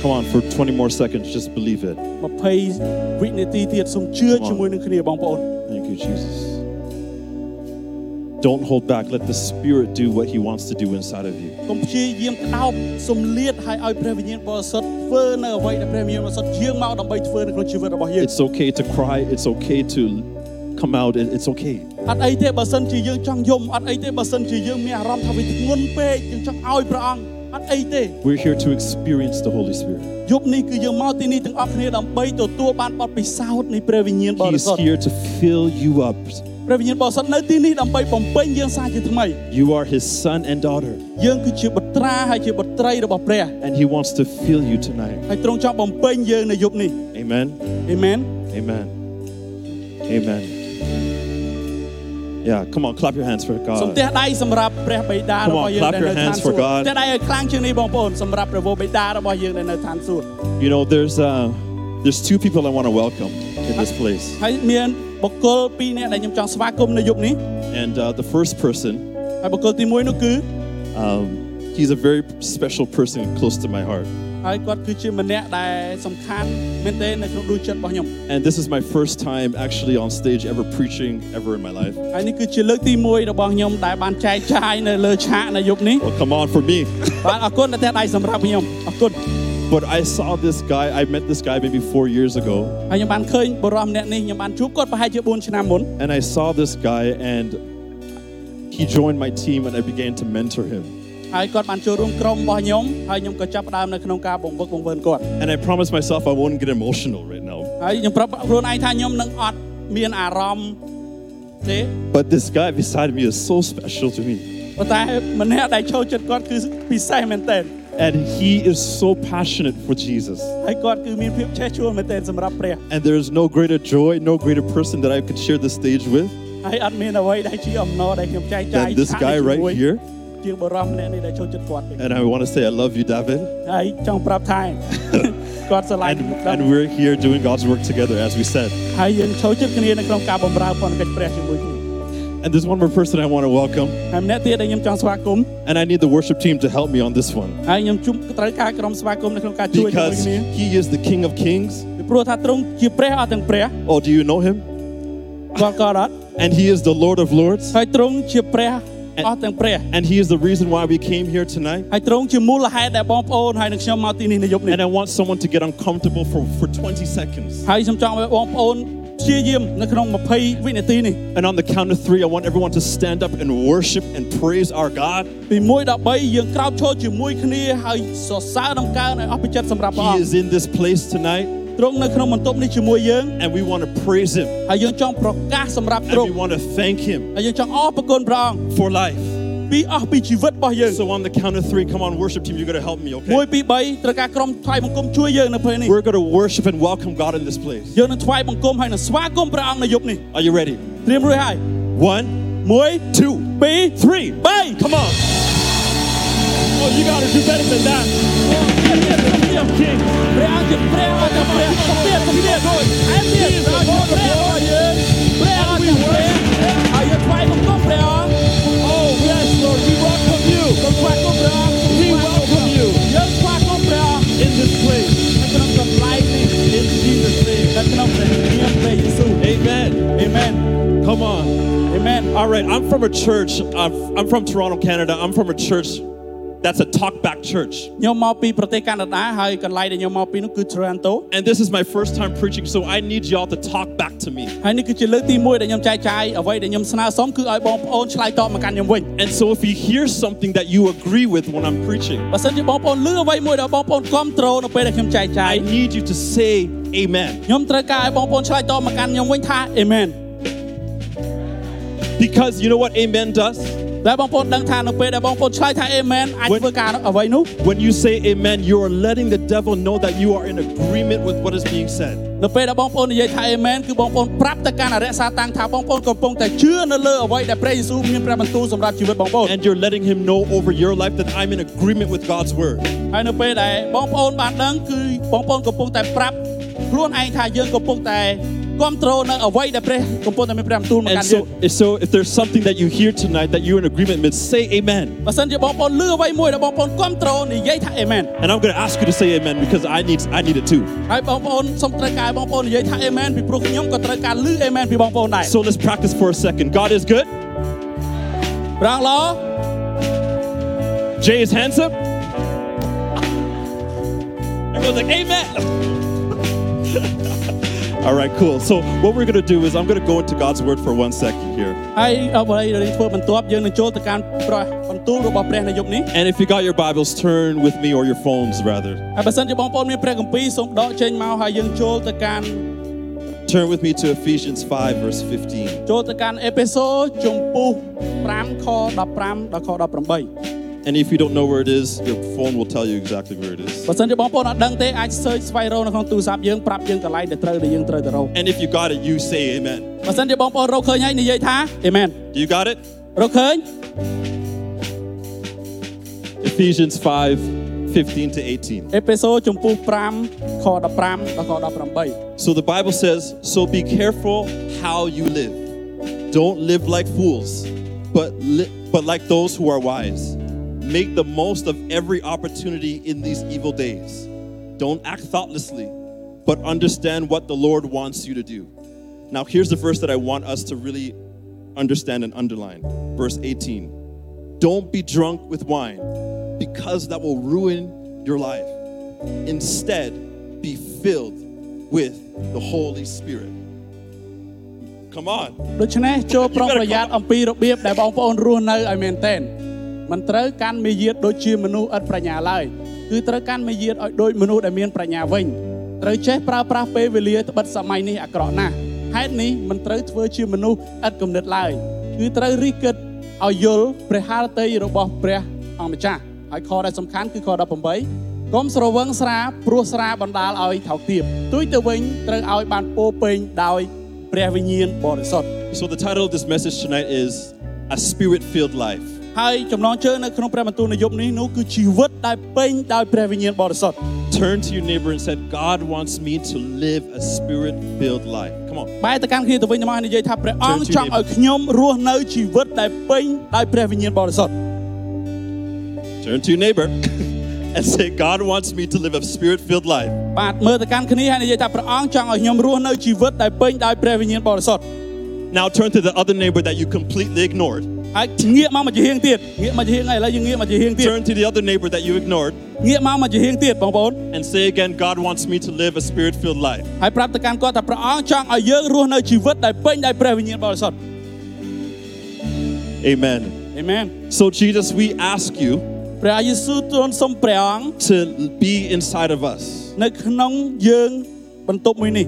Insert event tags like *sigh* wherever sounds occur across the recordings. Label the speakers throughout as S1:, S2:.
S1: Come on, for 20 more seconds, just believe it.
S2: 20វិនាទីទៀតសូមជឿជាមួយនឹងគ្នាបងប្អូន
S1: Thank you, Jesus. Don't hold back. Let the Spirit do what He wants to do inside of you.
S2: កុំព្យាយាមក្តោបសូមលាតឲ្យឲ្យព្រះវិញ្ញាណបរិសុទ្ធធ្វើនៅអ្វីដែលព្រះវិញ្ញាណបរិសុទ្ធយាងមកដើម្បីធ្វើនៅក្នុងជីវិតរបស់យើង
S1: It's okay to cry. It's okay to come out. It- It's okay.
S2: អត់អីទេបើសិនជាយើងចង់យំអត់អីទេបើសិនជាយើងមានអារម្មណ៍ថាវាធ្ងន់ពេកយើងចង់ឲ្យព្រះអង្គអត់អីទេ
S1: We're here to experience the Holy Spirit.
S2: យប់នេះគឺយើងមកទីនេះទាំងអស់គ្នាដើម្បីទទួលបានបទពិសោធន៍នៃព្រះវិញ្ញាណប
S1: He
S2: រិ
S1: is
S2: សុទ្ធ
S1: here to fill you up.
S2: ព្រះវិញ្ញាណបរិសុទ្ធនៅទីនេះដើម្បីបំពេញយើងសារជាថ្មី
S1: You are His son and daughter,
S2: យើងគឺជាបត្រាហើយជាបត្រីរបស់ព្រះ
S1: and He wants to fill you tonight.
S2: ហើយទ្រង់ចង់បំពេញយើងនៅយប់នេះ
S1: Amen.
S2: អេមែន
S1: Amen. Amen. Yeah, come on, clap your hands for
S2: សូម
S1: God.
S2: ទះដៃសម្រាប់ព្រះបិតារបស់យើង
S1: clap
S2: ដែល
S1: your
S2: នៅឋាន
S1: hands
S2: សួ
S1: for
S2: គ៌
S1: God.
S2: ទះដៃឲ្យខ្លាំងជាងនេះបងប្អូនសម្រាប់ព្រះវរបិតារបស់យើងដែលនៅឋានសួគ៌
S1: You know, there's uh, there's two people I want to welcome in this place,
S2: ហើយមានបុគ្គលពីរនាក់ដែលខ្ញុំចង់ស្វាគមន៍នៅយប់នេះ
S1: and uh, the first person
S2: ហើយបុគ្គលទី1នោះគឺ
S1: Um, he's a very special person close to my heart.
S2: ហើយគាត់គឺជាម្នាក់ដែលសំខាន់មែនទែននៅក្នុងដួងចិត្តរបស់ខ្ញុំ
S1: And this is my first time actually on stage ever preaching ever in my life.
S2: ហើយនេះគឺជាលើកទី1របស់ខ្ញុំដែលបានចែកចាយនៅលើឆាកនៅយប់នេះ
S1: Well, come on for me. *laughs*
S2: បាទអរគុណដែលទះដៃសម្រាប់ខ្ញុំអរគុណ
S1: But I saw this guy, I met this guy maybe four years ago,
S2: ហើយខ្ញុំបានឃើញបរិមម្នាក់នេះខ្ញុំបានជួបគាត់ប្រហែលជា4ឆ្នាំមុន
S1: and I saw this guy, and he joined my team, and I began to mentor him.
S2: ហើយគាត់បានចូលរួមក្រុមរបស់ខ្ញុំហើយខ្ញុំក៏ចាប់ផ្ដើមនៅក្នុងការបង្វឹកបង្វើនគាត់
S1: And I promised myself I won't get emotional right now.
S2: ហើយខ្ញុំប្រាប់ខ្លួនឯងថាខ្ញុំនឹងអត់មានអារម្មណ៍ទេ
S1: But this guy beside me is so special to me,
S2: ប៉ុន្តែម្នាក់ដែលចូលចិត្តគាត់គឺពិសេសមែនទែន
S1: and he is so passionate for Jesus.
S2: ហើយគាត់គឺមានភាពចេះជួលមែនទែនសម្រាប់ព្រះ
S1: And there's no greater joy, no greater person that I could share the stage with
S2: ហើយអត់មានអ្វីដែលជាអំណរដែលខ្ញុំចែកចាយ
S1: than this
S2: ឆាក
S1: guy
S2: នេះ
S1: right
S2: ជាមួយ
S1: here.
S2: ជាបរិមម្នាក់នេះដែលចូលចិត្តគាត់វិញ
S1: And I want to say I love you, David.
S2: ហើយចង់ប្រាប់
S1: *laughs*
S2: ថា គាត់ស្រឡាញ់
S1: And,
S2: ខ្ញុំដល់
S1: and we're here doing God's work together, as we said.
S2: ហើយយើងចូលចិត្តគ្នានៅក្នុងការបម្រើពន្ធកិច្ចព្រះជាមួយគ្នា
S1: And there's one more person I want to welcome.
S2: ហើយម្នាក់ទៀតដែលខ្ញុំចង់ស្វាគមន៍
S1: And I need the worship team to help me on this one.
S2: ហើយខ្ញុំជួបត្រូវការក្រុមស្វាគមន៍នៅក្នុងការជួយជាមួយ
S1: Because
S2: គ្នា
S1: he is the King of Kings.
S2: ពីព្រោះថាទ្រង់ជាព្រះអត់ទាំងព្រះ
S1: Oh, do you know him?
S2: គាត់ក៏អត់
S1: And he is the Lord of Lords.
S2: ហើយទ្រង់ជាព្រះអស់ទាំងព្រះ
S1: And he is the reason why we came here tonight.
S2: ហើយទ្រង់ជាមូលហេតុដែលបងប្អូនហើយនឹងខ្ញុំមកទីនេះនៅយប់នេះ
S1: And I want someone to get uncomfortable for, for 20 seconds.
S2: ហើយខ្ញុំចង់ឲ្យបងប្អូនព្យាយាមនៅក្នុង20វិនាទីនេះ
S1: And on the count of three, I want everyone to stand up and worship and praise our God.
S2: ពី1ដល់3យើងក្រោកឈរជាមួយគ្នាហើយសរសើរដំណើរឲ្យអស់ពីចិត្តសម្រាប់ព្រះអ
S1: He
S2: ង្គ
S1: is in this place tonight,
S2: ទ្រង់នៅក្នុងបន្ទប់នេះជាមួយយើង
S1: and we want to praise him.
S2: ហើយយើងចង់ប្រកាសសម្រាប់ទ្រ
S1: And
S2: ង់
S1: we want to thank him
S2: ហើយយើងចង់អរគុណព្រះអង្គ
S1: for life.
S2: ពីអស់ពីជីវិតរបស់យើង
S1: So on the count of three, come on, worship team, you're gonna help me,
S2: មួយ
S1: okay?
S2: ពី3ត្រូវការក្រុមថ្វាយបង្គំជួយយើងនៅពេលនេះ
S1: We're gonna worship and welcome God in this place.
S2: យើងនឹងថ្វាយបង្គំហើយនឹងស្វាគមន៍ព្រះអង្គនៅយប់នេះ
S1: Are you ready?
S2: ត្រៀមរួចហើយ
S1: One,
S2: 1
S1: two,
S2: 2
S1: three.
S2: 3
S1: Come on. Oh, you gotta do better than that.
S2: ព្រះអង្គជាព្រះអត់ព្រះសុភាសុភាហើយទៀតព្រះអង្គជាព្រះរបស់យើងព្រះអង្គជាព្រះហើយយើងថ្វាយបង្គំព្រះអង្គ
S1: Oh, yes, Lord, we welcome you
S2: សូមថ្វាយបង្គំព្រះអង្គ
S1: We welcome you.
S2: យើងថ្វាយបង្គំព្រះអង្គ
S1: in this place.
S2: នៅក្នុងកម្លាំងនេះ
S1: In Jesus' name.
S2: នៅក្នុងព្រះនាមព្រះយេស៊ូវ
S1: Amen.
S2: Amen
S1: Come on.
S2: Amen
S1: All right, I'm from a church. I'm, I'm from Toronto, Canada. I'm from a church that's a talk back church.
S2: ខ្ញុំមកពីប្រទេសកាណាដាហើយកន្លែងដែលខ្ញុំមកពីនោះគឺ Toronto
S1: And this is my first time preaching, so I need y'all to talk back to me.
S2: ហើយនេះគឺជាលើកទី1ដែលខ្ញុំចែកចាយអ្វីដែលខ្ញុំស្នើសុំគឺឲ្យបងប្អូនឆ្លើយតបមកកាន់ខ្ញុំវិញ
S1: And so if you hear something that you agree with when I'm preaching,
S2: បើសិនជាបងប្អូនលឺអ្វីមួយដែលបងប្អូនគ្រប់ត្រូលនៅពេលដែលខ្ញុំចែកចាយ
S1: I need you to say amen
S2: ខ្ញុំត្រូវការឲ្យបងប្អូនឆ្លើយតបមកកាន់ខ្ញុំវិញថា Amen
S1: because you know what amen does
S2: ដែលបងប្អូនដឹងថានៅពេលដែលបងប្អូនឆ្លើយថា Amen អាច
S1: When-
S2: ធ្វើការអ្វីនោះ
S1: when you say amen you are letting the devil know that you are in agreement with what is being said
S2: នៅពេលដែលបងប្អូននិយាយថា Amen គឺបងប្អូនប្រាប់ទៅកាន់អរិយសាតាំងថាបងប្អូនកំពុងតែជឿនៅលើអ្វីដែលព្រះយេស៊ូវមានព្រះបន្ទូលសម្រាប់ជីវិតបងប្អូន
S1: and you're letting him know over your life that I'm in agreement with God's word
S2: ហើយនៅពេលដែលបងប្អូនបានដឹងគឺបងប្អូនកំពុងតែប្រាប់ខ្លួនឯងថាយើងកំពុងតែគ គ្រប់គ្រងនៅអ្វីដែលព្រះកំពុងតែមានព្រះបន្ទូលមក
S1: And
S2: កាន់
S1: so,
S2: យើង
S1: if- so if there's something that you hear tonight that you're in agreement with, say amen.
S2: បើសិនជាបងប្អូនលឺអ្វីមួយដែលបងប្អូនគ្រប់គ្រងនិយាយថាអេមែន
S1: And I'm going to ask you to say amen because I need, I need it too.
S2: ហើយបងប្អូនសូមត្រូវការឲ្យបងប្អូននិយាយថាអេមែនពីព្រោះខ្ញុំក៏ត្រូវការលឺអេមែនពីបងប្អូនដែរ
S1: So let's practice for a second. God is good.
S2: ប្រាំងឡ
S1: Jay is handsome. Everyone's like, Amen. All right, cool. So, what we're going to do is I'm going to go into God's word for one second here.
S2: ហើយអបរិយរីធ្វើបន្ទាប់យើងនឹងចូលទៅកាន់ប្រះបន្ទូលរបស់ព្រះនៅយប់នេះ
S1: And if you got your Bibles, turn with me or your phones rather.
S2: ហើយបើសិនជាបងប្អូនមានព្រះគម្ពីរសូមដកចេញមកហើយយើងចូលទៅកាន់
S1: Turn with me to Ephesians 5, verse 15.
S2: ចូលទៅកាន់អេពីសូតជំពូក5ខ15ដល់ខ18
S1: And if you don't know where it is, your phone will tell you exactly where it is.
S2: បើសិនជាបងប្អូនអត់ដឹងទេអាច search ស្វែងរកនៅក្នុងទូរស័ព្ទយើងប្រាប់យើងកន្លែងដែលត្រូវដែលយើងត្រូវទៅរក
S1: And if you got it, you say amen.
S2: បើសិនជាបងប្អូនរកឃើញហើយនិយាយថាអេមែន
S1: Do you got it?
S2: រកឃើញ
S1: Ephesians 5, 15 to 18.
S2: អេពីសូតជំពូក5ខ15ដល់ខ18
S1: So the Bible says, So be careful how you live. Don't live like fools, but, li- but like those who are wise. Make the most of every opportunity in these evil days. Don't act thoughtlessly, but understand what the Lord wants you to do. Now, here's the verse that I want us to really understand and underline verse 18. Don't be drunk with wine because that will ruin your life. Instead, be filled with the Holy Spirit. Come on.
S2: ដូច្នេះចូលប្រុងប្រយ័ត្នអំពីរបៀបដែលបងប្អូនរស់នៅឲ្យមែនទែនមិនត្រូវកាន់មារយាទដូចជាមនុស្សឥតប្រាជ្ញាឡើយគឺត្រូវកាន់មារយាទឲ្យដូចមនុស្សដែលមានប្រាជ្ញាវិញត្រូវចេះប្រើប្រាស់ពេលវេលាត្បិតសម័យនេះអាក្រក់ណាស់ហេតុនេះមិនត្រូវធ្វើជាមនុស្សឥតគំនិតឡើយគឺត្រូវរិះគិតឲ្យយល់ព្រះハរតីរបស់ព្រះអង្គម្ចាស់ហើយខដែលសំខាន់គឺខ18កុំស្រវឹងស្រាព្រោះស្រាបណ្ដាលឲ្យថោកទាបទុយទៅវិញត្រូវឲ្យបានពោរពេញដោយព្រះវិញ្ញាណបរិសុទ្ធ
S1: So, the title of this message tonight is A Spirit Filled Life.
S2: ហើយចំណងជើងនៅក្នុងព្រះបន្ទូលនយប់នេះនោះគឺជីវិតដែលពេញដោយព្រះវិញ្ញាណបរិសុទ្ធ
S1: Turn to your neighbor and said, God wants me to live a spirit filled life. Come on.
S2: បែរទៅកាន់គ្នាទៅវិញទៅមកហើយនិយាយថាព្រះអង្គ
S1: Turn to
S2: ចង់
S1: neighbor.
S2: ឲ្យខ្ញុំរស់នៅជីវិតដែលពេញដោយព្រះវិញ្ញាណបរិសុទ្ធ
S1: Turn to your neighbor *laughs* and say, God wants me to live a spirit filled life.
S2: បាទមើលទៅកាន់គ្នាហើយនិយាយថាព្រះអង្គចង់ឲ្យខ្ញុំរស់នៅជីវិតដែលពេញដោយព្រះវិញ្ញាណបរិសុទ្ធ
S1: Now, turn to the other neighbor that you completely ignored.
S2: ហើយងាកមកមកជាហៀងទៀតងាកមកជាហៀងហើយឥឡូវយើងងាកមកជាហៀងទៀត
S1: Turn to the other neighbor that you ignored
S2: ងាកមកមកជាហៀងទៀតបងប្អូន
S1: and say again, God wants me to live a spirit filled life.
S2: ហើយប្រាប់ទៅកាន់គាត់ថាព្រះអង្គចង់ឲ្យយើងរស់នៅជីវិតដែលពេញដោយព្រះវិញ្ញាណបរិសុទ្ធ
S1: Amen.
S2: អេមែន
S1: So, Jesus, we ask you
S2: ព្រះយេស៊ូវទ្រង់សូមព្រះអង្គ
S1: to be inside of us.
S2: នៅក្នុងយើងបន្ទប់មួយនេះ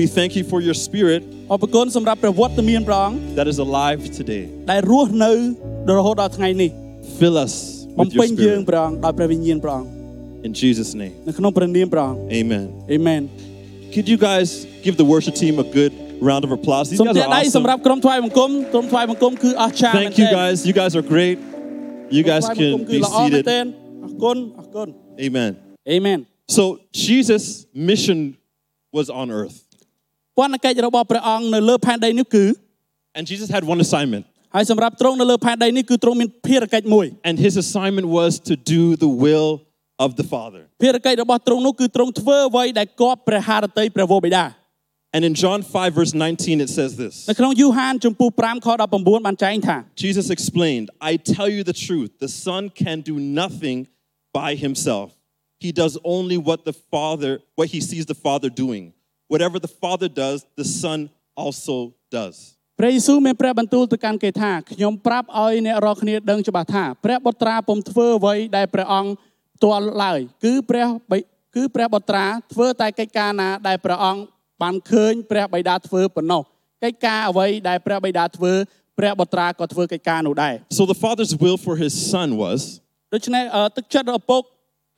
S1: We thank you for your spirit
S2: អរគុណសម្រាប់ព្រះវត្តមានព្រះអង្គ
S1: that is alive today.
S2: ដែលរស់នៅរហូតដល់ថ្ងៃនេះ
S1: Fill us
S2: បំ
S1: with your
S2: ពេញយើង
S1: spirit.
S2: ព្រះអង្គដោយព្រះវិញ្ញាណព្រះអង្គ
S1: In Jesus' name,
S2: នៅក្នុងព្រះនាមព្រះអង្គ
S1: amen.
S2: អេមែន
S1: Could you guys give the worship team a good round of applause? These
S2: សូម
S1: guys
S2: ជា
S1: are
S2: ដៃសម្រា
S1: awesome.
S2: ប់ក្រុមថ្វាយបង្គំក្រុមថ្វាយបង្គំគឺអស្ចារ្យមែន
S1: Thank you
S2: ទែន
S1: guys. You guys are great. You
S2: ថ្វាយ
S1: guys
S2: បង្គំ
S1: can
S2: គឺ
S1: be
S2: ល្អមែនទែ
S1: seated.
S2: នអរគុណអរគុណ
S1: Amen.
S2: អេមែន
S1: So, Jesus' mission was on earth,
S2: ពន្ធកិច្ចរបស់ព្រះអង្គនៅលើផែនដីនេះគឺ
S1: and Jesus had one assignment.
S2: ហើយសម្រាប់ទ្រង់នៅលើផែនដីនេះគឺទ្រង់មានភារកិច្ចមួយ
S1: and his assignment was to do the will of the Father.
S2: ភារកិច្ចរបស់ទ្រង់នោះគឺទ្រង់ធ្វើអ្វីដែលគប់ព្រះハរតីព្រះវរបិតា
S1: And in John 5, verse 19, it says this
S2: នៅក្នុងយូហានជំពូក5ខ19បានចែងថា
S1: Jesus explained, I tell you the truth, the Son can do nothing by himself. He does only what the Father, what he sees the Father doing. Whatever the Father does, the Son also does.
S2: ព្រះយេស៊ូវមានព្រះបន្ទូលទៅកាន់គេថាខ្ញុំប្រាប់ឲ្យអ្នករាល់គ្នាដឹងច្បាស់ថាព្រះបុត្រាពុំធ្វើអ្វីដែលព្រះអង្គផ្ទាល់ឡើយគឺព្រះបិគឺព្រះបុត្រាធ្វើតែកិច្ចការណាដែលព្រះអង្គបានឃើញព្រះបិតាធ្វើប៉ុណ្ណោះកិច្ចការអ្វីដែលព្រះបិតាធ្វើព្រះបុត្រាក៏ធ្វើកិច្ចការនោះដែរ
S1: So the Father's will for his Son was
S2: ដូច្នេះអឺទឹកចិត្តឪពុក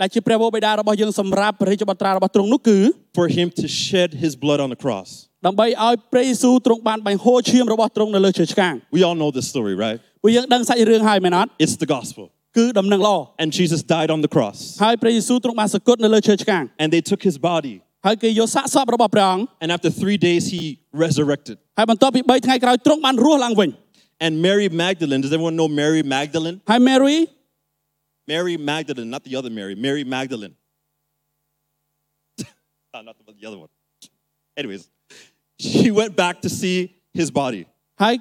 S2: ដែលជាព្រះវរបិតារបស់យើងសម្រាប់ព្រះរាជបុត្រារបស់ទ្រង់នោះគឺ
S1: for him to shed his blood on the cross.
S2: ដើម្បីឲ្យព្រះយេស៊ូវទ្រង់បានបាញ់ហូរឈាមរបស់ទ្រង់នៅលើឈើឆ្កាង
S1: We all know this story, right?
S2: ពួកយើងដឹងសាច់រឿងហើយមែនអត់
S1: It's the gospel.
S2: គឺដំណឹងល្អ
S1: And Jesus died on the cross.
S2: ហើយព្រះយេស៊ូវទ្រង់បានសគត់នៅលើឈើឆ្កាង
S1: And they took his body
S2: ហើ ហើយគេយកសាកសពរបស់ព្រះអង្គ
S1: And after three days, he resurrected.
S2: ហើយបន្ទាប់ពី3ថ្ងៃក្រោយទ្រង់បានរស់ឡើងវិញ
S1: And Mary Magdalene, does everyone know Mary Magdalene?
S2: ហើយ Mary
S1: Mary Magdalene, not the other Mary, Mary Magdalene. *laughs* No, not the, the other one. Anyways, she went back to see his body
S2: ហើយ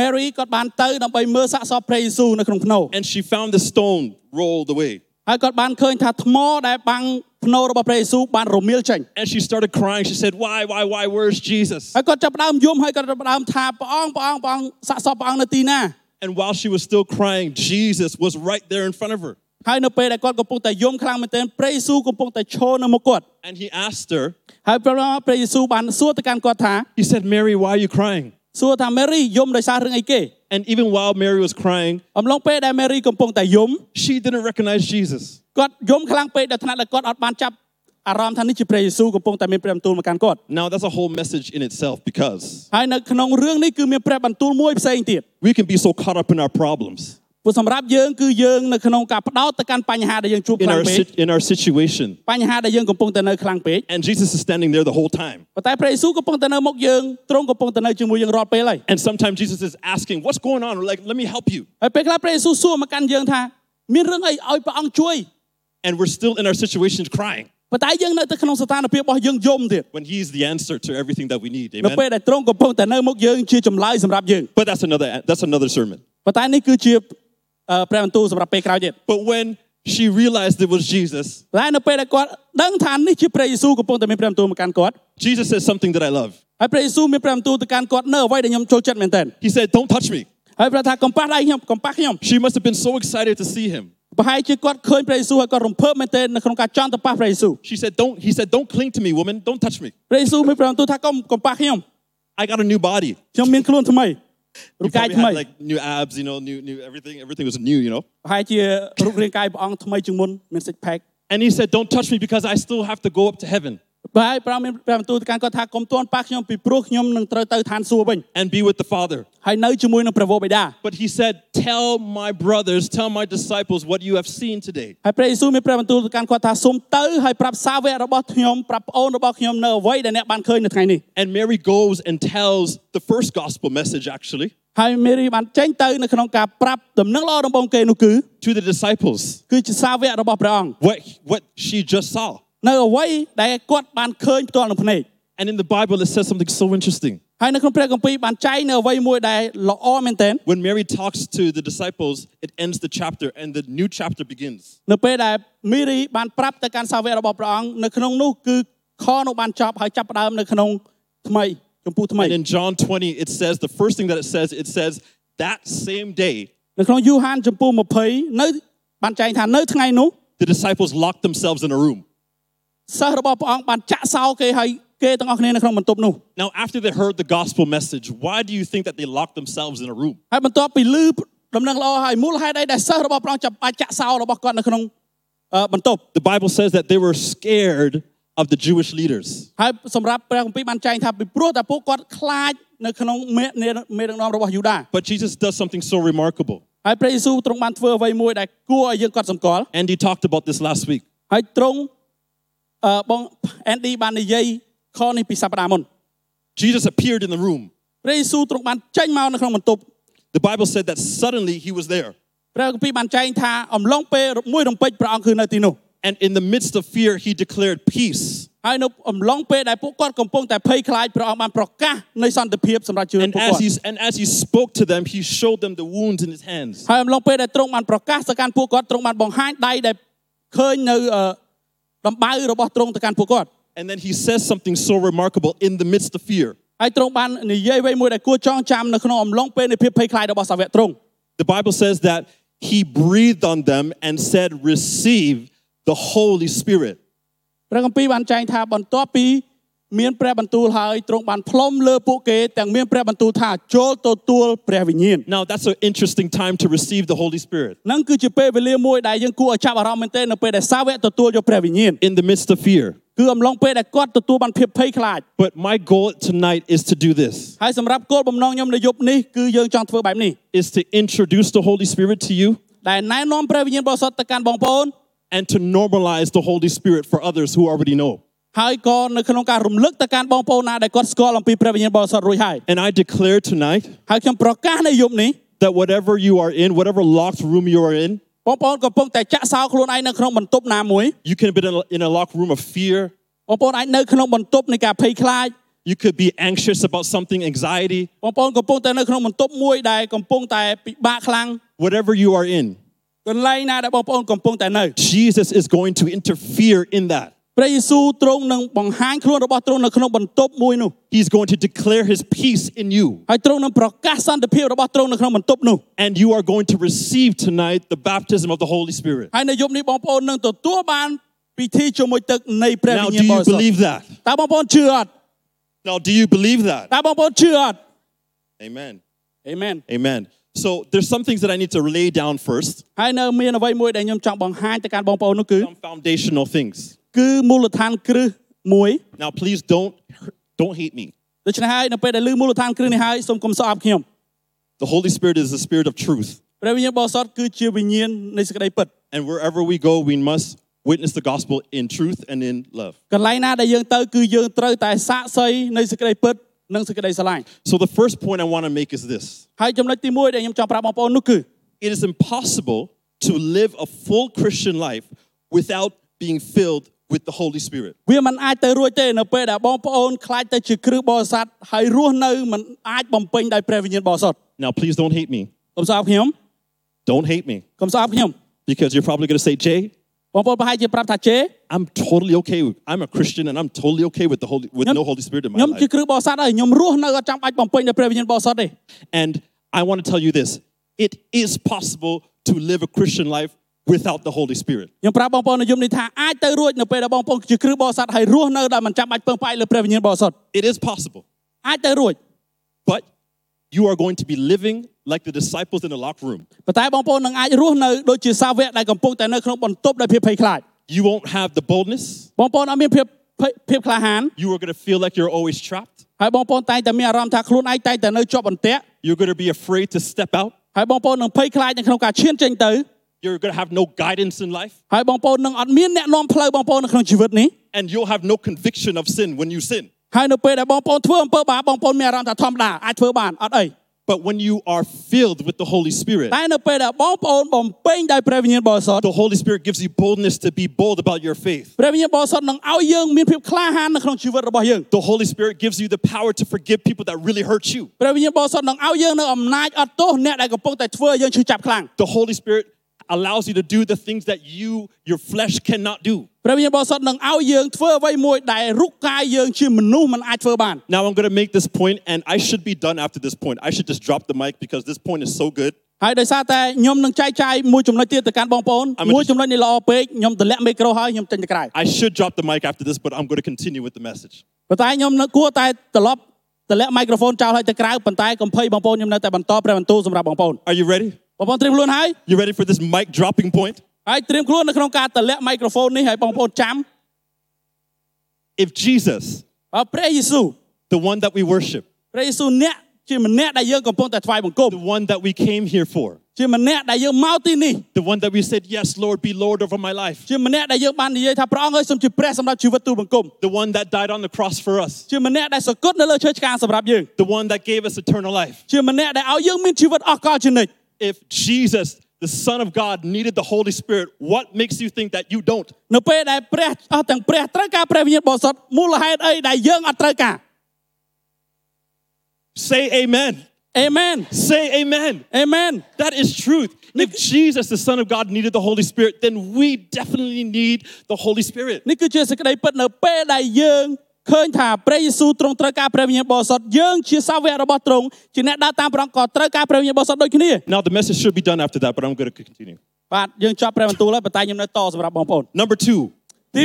S2: Mary គាត់បានទៅដើម្បីមើលសាកសពព្រះយេស៊ូវនៅក្នុងភ្នោ
S1: and she found the stone rolled away.
S2: ហើយគាត់បានឃើញថាថ្មដែលបាំងភ្នោរបស់ព្រះយេស៊ូវបានរមៀលចេញ
S1: And she started crying. She said, Why, why, why, where's Jesus?
S2: ហើយគាត់ចាប់ផ្ដើមយំហើយគាត់ចាប់ផ្ដើមថាព្រះអង្គព្រះអង្គព្រះអង្គសាកសពព្រះអង្គនៅទីណា
S1: And while she was still crying, Jesus was right there in front of her.
S2: ហើយនៅពេលដែលគាត់កំពុងតែយំខ្លាំងមែនទែនព្រះយេស៊ូវកំពុងតែឈរនៅមុខគាត់
S1: And he asked her,
S2: ហើយព្រះព្រះយេស៊ូវបានសួរទៅកាន់គាត់ថា
S1: He said, Mary, why are you crying?
S2: សួរថា Mary យំដោយសាររឿងអីគេ
S1: And even while Mary was crying,
S2: អំឡុងពេលដែល Mary កំពុងតែយំ
S1: she didn't recognize Jesus.
S2: គាត់យំខ្លាំងពេកដល់ថ្នាក់ដែលគាត់អត់បានចាប់អារម្មណ៍ថានេះជាព្រះយេស៊ូវកំពុងតែមានព្រះបន្ទូលមកកាន់គាត់
S1: Now, that's a whole message in itself because
S2: ហើយនៅក្នុងរឿងនេះគឺមានព្រះបន្ទូលមួយផ្សេងទៀត
S1: we can be so caught up in our problems,
S2: ព្រោះសម្រាប់យើងគឺយើងនៅក្នុងការផ្ដោតទៅកាន់បញ្ហាដែលយើងជួប
S1: in
S2: ខ្លាំង
S1: our,
S2: ពេក
S1: si- in our situation.
S2: បញ្ហាដែលយើងកំពុងតែនៅខ្លាំងពេក
S1: And Jesus is standing there the whole time.
S2: ប៉ុន្តែព្រះយេស៊ូវកំពុងតែនៅមុខយើងទ្រង់កំពុងតែនៅជាមួយយើងរាល់ពេលហើយ
S1: And sometimes Jesus is asking, What's going on? Like, let me help you.
S2: ហើយពេលខ្លះព្រះយេស៊ូវសួរមកកាន់យើងថាមានរឿងអីឲ្យព្រះអង្គជួយ
S1: And we're still in our situations crying
S2: ប៉ុន្តែយើងនៅតែក្នុងស្ថានភាពរបស់យើងយំទៀត
S1: when He's the answer to everything that we need.
S2: នៅ
S1: Amen.
S2: ពេលដែលទ្រង់កំពុងតែនៅមុខយើងជាចម្លើយសម្រាប់យើង
S1: But that's another, that's another sermon.
S2: ប៉ុន្តែនេះគឺជាអឺព្រះបន្ទូលសម្រាប់ពេលក្រោយទៀត
S1: But when she realized it was Jesus,
S2: តែនៅពេលដែលគាត់ដឹងថានេះជាព្រះយេស៊ូវកំពុងតែមានព្រះបន្ទូលមកកាន់គាត់
S1: Jesus says something that I love.
S2: ហើយព្រះយេស៊ូវមានព្រះបន្ទូលទៅកាន់គាត់នៅអ្វីដែលខ្ញុំចូលចិត្តមែនទែន
S1: He said, Don't touch me.
S2: ហើយព្រះថាកំប៉ះដៃខ្ញុំកំប៉ះខ្ញុំ
S1: She must have been so excited to see him.
S2: ប្រហែលជាគាត់ឃើញព្រះយេស៊ូវហើយគាត់រំភើបមែនទែននៅក្នុងការចង់ទៅប៉ះព្រះយេស៊ូវ
S1: She said, Don't, he said, Don't cling to me, woman. Don't touch me.
S2: ព្រះយេស៊ូវមានព្រះបន្ទូលថាកុំកំប៉ះខ្ញុំ
S1: I got a new body.
S2: ខ្ញុំមានខ្លួនថ្មី រូប
S1: You
S2: កាយ
S1: probably
S2: ថ្មី
S1: had like new abs, you know, new, new everything. Everything was new, you know.
S2: ប្រហែលជារូបរាងកាយព្រះអង្គថ្មីជាងមុនមាន six pack
S1: And he said, Don't touch me because I still have to go up to heaven
S2: បាទហើយព្រះមានព្រះបន្ទូលទៅកាន់គាត់ថាកុំទាន់ប៉ះខ្ញុំពីព្រោះខ្ញុំនឹងត្រូវទៅឋានសួគ៌វិញ
S1: and be with the Father.
S2: ហើយនៅជាមួយនឹងព្រះវរបិតា
S1: But he said, Tell my brothers, tell my disciples what you have seen today.
S2: ហើយព្រះយេស៊ូវមានព្រះបន្ទូលទៅកាន់គាត់ថាសូមទៅហើយប្រាប់សាវករបស់ខ្ញុំប្រាប់ប្អូនរបស់ខ្ញុំនៅអ្វីដែលអ្នកបានឃើញនៅថ្ងៃនេះ
S1: And Mary goes and tells the first gospel message, actually,
S2: ហើយមេរីបានចេញទៅនៅក្នុងការប្រាប់ដំណឹងល្អដំបូងគេនោះគឺ
S1: to the disciples
S2: គឺជាសាវករបស់ព្រះអង្គ
S1: what, what she just saw.
S2: នៅអ្វីដែលគាត់បានឃើញផ្ទាល់នឹងភ្នែក
S1: And in the Bible, it says something so interesting.
S2: ហើយនៅក្នុងព្រះគម្ពីរបានចែងនៅអ្វីមួយដែលល្អមែនទែន
S1: When Mary talks to the disciples, it ends the chapter and the new chapter begins.
S2: នៅពេលដែលមេរីបានប្រាប់ទៅកាន់សាវករបស់ព្រះអង្គនៅក្នុងនោះគឺខនោះបានចប់ហើយចាប់ផ្ដើមនៅក្នុងថ្មីចំពោះថ្មី
S1: And in John 20, it says the first thing that it says, it says, that same day,
S2: នៅក្នុងយូហានចំពោះ20នៅបានចែងថានៅថ្ងៃនោះ
S1: the disciples locked themselves in a room.
S2: សិស្សរបស់ព្រះអង្គបានចាក់សោគេហើយគេទាំងអស់គ្នានៅក្នុងបន្ទប់នោះ
S1: Now, after they heard the gospel message, why do you think that they locked themselves in a room?
S2: ហើយបន្ទាប់ពីលឺដំណឹងល្អហើយមូលហេតុអីដែលសិស្សរបស់ព្រះអង្គចាប់បាច់ចាក់សោរបស់គាត់នៅក្នុងអឺបន្ទប់
S1: The Bible says that they were scared of the Jewish leaders.
S2: ហើយសម្រាប់ព្រះគម្ពីរបានចែងថាពីព្រោះតែពួកគាត់ខ្លាចនៅក្នុងមេមេដឹកនាំរបស់យូដា
S1: But Jesus does something so remarkable.
S2: ហើយព្រះយេស៊ូវទ្រង់បានធ្វើអ្វីមួយដែលគួរឲ្យយើងកត់សម្គាល់
S1: Andy talked about this last week.
S2: ហើយទ្រង់អឺបងអេនឌីបាននិយាយខនេះពីសប្តាហ៍មុន
S1: Jesus appeared in the room.
S2: ព្រះយេស៊ូវទ្រង់បានចេញមកនៅក្នុងបន្ទប់
S1: The Bible said that suddenly he was there.
S2: ព្រះគម្ពីរបានចែងថាអំឡុងពេលមួយរំពេចព្រះអង្គគឺនៅទីនោះ
S1: And in the midst of fear, he declared peace.
S2: ហើយនៅអំឡុងពេលដែលពួកគាត់កំពុងតែភ័យខ្លាចព្រះអង្គបានប្រកាសនៃសន្តិភាពសម្រាប់ជីវិត
S1: And
S2: ពួក
S1: as
S2: គាត់
S1: he and as he spoke to them, he showed them the wounds in his hands.
S2: ហើយអំឡុងពេលដែលទ្រង់បានប្រកាសទៅកាន់ពួកគាត់ទ្រង់បានបង្ហាញដៃដែលឃើញនៅអឺដំបៅរបស់ទ្រង់ទៅកាន់ពួកគាត់
S1: And then he says something so remarkable in the midst of fear.
S2: ហើយទ្រង់បាននិយាយអ្វីមួយដែលគួរចងចាំនៅក្នុងអំឡុងពេលនៃភាពភ័យខ្លាចរបស់សាវកទ្រង់
S1: The Bible says that he breathed on them and said, "Receive the Holy Spirit."
S2: ព្រះគម្ពីរបានចែងថាបន្ទាប់ពីមានព្រះបន្ទូលហើយទ្រង់បានផ្លុំលើពួកគេទាំងមានព្រះបន្ទូលថាចូលទទួលព្រះវិញ្ញាណ
S1: Now that's an interesting time to receive the Holy Spirit
S2: នឹងគឺជាពេលវេលាមួយដែលយើងគួរឲ្យចាប់អារម្មណ៍មែនទែននៅពេលដែលសាវកទទួលយកព្រះវិញ្ញាណ
S1: in the midst of fear.
S2: គឺអំឡុងពេលដែលគាត់ទទួលបានភាពភ័យខ្លាច
S1: But my goal tonight is to do this:
S2: ហើយសម្រាប់គោលបំណងខ្ញុំនៅយប់នេះគឺយើងចង់ធ្វើបែបនេះ
S1: is to introduce the Holy Spirit to you
S2: ដែលណែនាំព្រះវិញ្ញាណបរិសុទ្ធទៅកាន់បងប្អូន
S1: and to normalize the Holy Spirit for others who already know.
S2: ហើយក៏នៅក្នុងការរំលឹកទៅកាន់បងប្អូនណាដែលគាត់ស្គាល់អំពីព្រះវិញ្ញាណបរិសុទ្ធរួចហើយ
S1: And I declare tonight
S2: ហើយខ្ញុំប្រកាសនៅយប់នេះ
S1: that whatever you are in, whatever locked room you are in,
S2: បងប្អូនកំពុងតែចាក់សោខ្លួនឯងនៅក្នុងបន្ទប់ណាមួយ
S1: you can be in a, in a locked room of fear.
S2: បងប្អូនអាចនៅក្នុងបន្ទប់នៃការភ័យខ្លាច
S1: You could be anxious about something, anxiety.
S2: បងប្អូនកំពុងតែនៅក្នុងបន្ទប់មួយដែលកំពុងតែពិបាកខ្លាំង
S1: Whatever you are in,
S2: កន្លែងណាដែលបងប្អូនកំពុងតែនៅ
S1: Jesus is going to interfere in that.
S2: ព្រះយេស៊ូវទ្រង់នឹងបង្ហាញខ្លួនរបស់ទ្រង់នៅក្នុងបន្ទប់មួយនោះ
S1: He's going to declare his peace in you.
S2: ហើយទ្រង់នឹងប្រកាសសន្តិភាពរបស់ទ្រង់នៅក្នុងបន្ទប់នោះ
S1: And you are going to receive tonight the baptism of the Holy Spirit.
S2: ហើយនៅយប់នេះបងប្អូននឹងទទួលបានពិធីជាមួយទឹកនៃព្រះ
S1: Now,
S2: វិ
S1: do
S2: ញ្ញាណប
S1: you
S2: រិសុទ្ធ
S1: believe that?
S2: តើបងប្អូនជឿអត់
S1: Now, do you believe that?
S2: តើបងប្អូនជឿអត់
S1: Amen.
S2: អេមែន
S1: Amen. So, there's some things that I need to lay down first,
S2: ហើយនៅមានអ្វីមួយដែលខ្ញុំចង់បង្ហាញទៅកាន់បងប្អូននោះគឺ
S1: some foundational things.
S2: គឺមូលដ្ឋានគ្រឹះមួយ
S1: Now, please don't don't hate me.
S2: ដូច្នេះហើយនៅពេលដែលលើមូលដ្ឋានគ្រឹះនេះហើយសូមកុំស្អប់ខ្ញុំ
S1: The Holy Spirit is the spirit of truth.
S2: ព្រះវិញ្ញាណបរិសុទ្ធគឺជាវិញ្ញាណនៃសេចក្តីពិត
S1: And wherever we go, we must witness the gospel in truth and in love.
S2: កន្លែងណាដែលយើងទៅគឺយើងត្រូវតែសាកសីនៃសេចក្តីពិតនិងសេចក្តីស្រឡាញ់
S1: So the first point I want to make is this.
S2: ហើយចំណុចទី1ដែលខ្ញុំចង់ប្រាប់បងប្អូននោះគឺ
S1: It is impossible to live a full Christian life without being filled with the Holy Spirit.
S2: វាមិនអាចទៅរួចទេនៅពេលដែលបងប្អូនខ្លាចទៅជាគ្រឹះបរិស័ទហើយរស់នៅមិនអាចបំពេញដោយព្រះវិញ្ញាណបរិសុទ្ធ
S1: Now please don't hate me.
S2: កុំស្អប់ខ្ញុំ
S1: Don't hate me
S2: កុំស្អប់ខ្ញុំ
S1: because you're probably going to say, "Jay,
S2: បងប្អូនប្រហែលជាប្រាប់ថាជេ
S1: I'm totally okay. with- I'm a Christian and I'm totally okay with the Holy with
S2: Yep.
S1: no Holy Spirit in my
S2: ខ្ញុំជា
S1: life."
S2: គ្រឹះបរិស័ទហើយខ្ញុំរស់នៅអត់ចាំបាច់បំពេញដោយព្រះវិញ្ញាណបរិសុទ្ធទេ
S1: And I want to tell you this. It is possible to live a Christian life without the Holy Spirit.
S2: ខ្ញុំប្រាប់បងប្អូននៅយមនេះថាអាចទៅរួចនៅពេលដែលបងប្អូនជាគ្រឹះបរិស័ទហើយរស់នៅដោយមិនចាំបាច់ពឹងផ្អែកលើព្រះវិញ្ញាណបរិសុទ្ធ
S1: It is possible.
S2: អាចទៅរួច
S1: But you are going to be living like the disciples in the locker room.
S2: ប៉ុន្តែបងប្អូននឹងអាចរស់នៅដូចជាសាវកដែលកំពុងតែនៅក្នុងបន្ទប់ដោយភាពភ័យខ្លាច
S1: You won't have the boldness.
S2: បងប្អូនអត់មានភាពភ័យភាពក្លាហាន
S1: You are going to feel like you're always trapped.
S2: ហើយបងប្អូនតែងតែមានអារម្មណ៍ថាខ្លួនឯងតែងតែនៅជាប់បន្ទាក់
S1: You're going to be afraid to step out.
S2: ហើយបងប្អូននឹងភ័យខ្លាចនៅក្នុងការឈានចេញទៅ
S1: You're going to have no guidance in life.
S2: ហើយបងប្អូននឹងអត់មានអ្នកនាំផ្លូវបងប្អូននៅក្នុងជីវិតនេះ
S1: And you'll have no conviction of sin when you sin.
S2: ហើយនៅពេលដែលបងប្អូនធ្វើអំពើបាបបងប្អូនមានអារម្មណ៍ថាធម្មតាអាចធ្វើបានអត់អី
S1: But when you are filled with the Holy Spirit,
S2: តែនៅពេលដែលបងប្អូនបំពេញដោយព្រះវិញ្ញាណបរិសុទ្ធ
S1: the Holy Spirit gives you boldness to be bold about your faith.
S2: ព្រះវិញ្ញាណបរិសុទ្ធនឹងឲ្យយើងមានភាពក្លាហាននៅក្នុងជីវិតរបស់យើង
S1: The Holy Spirit gives you the power to forgive people that really hurt you.
S2: ព្រះវិញ្ញាណបរិសុទ្ធនឹងឲ្យយើងនៅអំណាចអត់ទោសអ្នកដែលកំពុងតែធ្វើឲ្យយើងឈឺចាប់ខ្លាំង
S1: The Holy Spirit allows you to do the things that you, your flesh, cannot do.
S2: ព្រះវិញ្ញាណបរិសុទ្ធនឹងឲ្យយើងធ្វើអ្វីមួយដែលរូបកាយយើងជាមនុស្សមិនអាចធ្វើបាន
S1: Now I'm going to make this point, and I should be done after this point. I should just drop the mic because this point is so good.
S2: ហើយដោយសារតែខ្ញុំនឹងចែកចាយមួយចំណុចទៀតទៅកាន់បងប្អូន
S1: I'm gonna
S2: មួយចំណុចនេះល្អពេកខ្ញុំទម្លាក់មីក្រូហើយខ្ញុំចេញទៅក្រៅ
S1: I should drop the mic after this, but I'm going to continue with the message.
S2: ប៉ុន្តែខ្ញុំនៅគួរតែត្រឡប់ទម្លាក់មីក្រូហ្វូនចោលហើយទៅក្រៅប៉ុន្តែកំភៃបងប្អូនខ្ញុំនៅតែបន្តព្រះបន្ទូលសម្រាប់បងប្អូន
S1: Are you ready?
S2: បងប្អូនត្រៀមខ្លួនហើយ
S1: You ready for this mic dropping point?
S2: ហើយត្រៀមខ្លួននៅក្នុងការទម្លាក់មីក្រូហ្វូននេះហើយបងប្អូនចាំ
S1: If Jesus,
S2: អើព្រះយេស៊ូវ
S1: the one that we worship,
S2: ព្រះយេស៊ូវអ្នកជាម្នាក់ដែលយើងកំពុងតែថ្វាយបង្គំ
S1: the one that we came here for,
S2: ជាម្នាក់ដែលយើងមកទីនេះ
S1: the one that we said, Yes, Lord, be Lord over my life,
S2: ជាម្នាក់ដែលយើងបាននិយាយថាព្រះអង្គអើយសូមជាព្រះសម្រាប់ជីវិតទូលបង្គំ
S1: the one that died on the cross for us,
S2: ជាម្នាក់ដែលសគត់នៅលើឈើឆ្កាងសម្រាប់យើង
S1: the one that gave us eternal life.
S2: ជាម្នាក់ដែលឲ្យយើងមានជីវិតអស់កលជានិច្ច
S1: If Jesus, the Son of God, needed the Holy Spirit, what makes you think that you don't?
S2: នៅពេលដែលព្រះអស់ទាំងព្រះត្រូវការព្រះវិញ្ញាណបរិសុទ្ធមូលហេតុអីដែលយើងអត់ត្រូវការ
S1: Say amen.
S2: អេមែន
S1: Say amen.
S2: អេមែន
S1: That is truth. If Jesus, the Son of God, needed the Holy Spirit, then we definitely need the Holy Spirit.
S2: នេះគឺជាសេចក្តីពិតនៅពេលដែលយើងឃើញថាព្រះយេស៊ូវទ្រង់ត្រូវការព្រះវិញ្ញាណបរិសុទ្ធយើងជាសាវករបស់ទ្រង់ជាអ្នកដើរតាមព្រះអង្គក៏ត្រូវការព្រះវិញ្ញាណបរិសុទ្ធដូចគ្នា
S1: Now, the message should be done after that, but I'm going to continue.
S2: បាទយើងចប់ព្រះបន្ទូលហើយប៉ុន្តែខ្ញុំនៅតសម្រាប់បងប្អូន
S1: Number two,
S2: ទី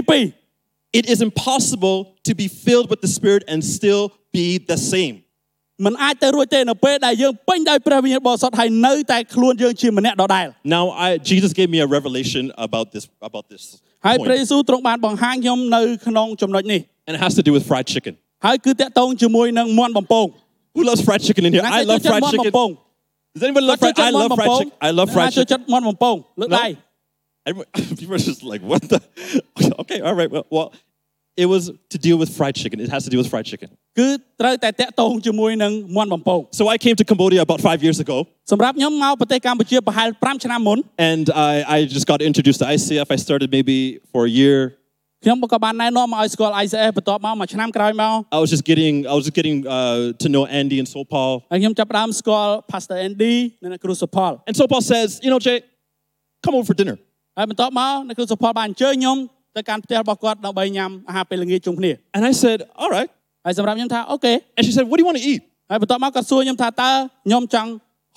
S2: 2
S1: it is impossible to be filled with the Spirit and still be the same.
S2: មិនអាចទៅរួចទេនៅពេលដែលយើងពេញដោយព្រះវិញ្ញាណបរិសុទ្ធហើយនៅតែខ្លួនយើងជាម្នាក់ដដែល
S1: Now, I, Jesus gave me a revelation about this about this,
S2: ហើយព្រះ
S1: point,
S2: យេស៊ូវទ្រង់បានបង្ហាញខ្ញុំនៅក្នុងចំណុចនេះ
S1: and it has to do with fried chicken.
S2: ហើយគឺតាក់ទងជាមួយនឹងមន់បំពង
S1: Who loves fried chicken in here?
S2: ណា
S1: I
S2: ចចូល
S1: love
S2: ចិត្ត
S1: fried
S2: មន់បំ
S1: chicken.
S2: ពង
S1: Does anyone love fried? I love fried chicken. I love
S2: ណា
S1: fried
S2: ចចូល
S1: chicken.
S2: ចិត្តមន់បំពងលើក
S1: No.
S2: ដៃ
S1: *laughs* Everyone, people are just like, what the? Okay, all right. Well, well It was to deal with fried chicken. It has to deal with fried chicken.
S2: គឺត្រូវតែតាក់ទងជាមួយនឹងមន់បំពង
S1: So I came to Cambodia about five years ago,
S2: សម្រាប់ខ្ញុំមកប្រទេសកម្ពុជាប្រហែល5ឆ្នាំមុន
S1: and I, I just got introduced to ICF. I started maybe for a year.
S2: ខ្ញុំក៏បានណែនាំមកឲ្យស្គាល់ ICF បន្ទាប់មកមួយឆ្នាំក្រោយមក
S1: I was just getting, I was just getting uh, to know Andy and Sopal.
S2: ហើយខ្ញុំចាប់ផ្ដើមស្គាល់ Pastor Andy និងអ្នកគ្រូសុផល
S1: And Sopal says, you know, Jay, come over for dinner.
S2: ហើយបន្ទាប់មកអ្នកគ្រូសុផលបានអញ្ជើញខ្ញុំទៅកាន់ផ្ទះរបស់គាត់ដើម្បីញ៉ាំអាហារពេលល្ងាចជុំគ្នា
S1: And I said, all right.
S2: ហើយសម្រាប់ខ្ញុំថាអូខេ
S1: And she said, what do you want to eat?
S2: ហើយបន្ទាប់មកគាត់សួរខ្ញុំថាតើខ្ញុំចង់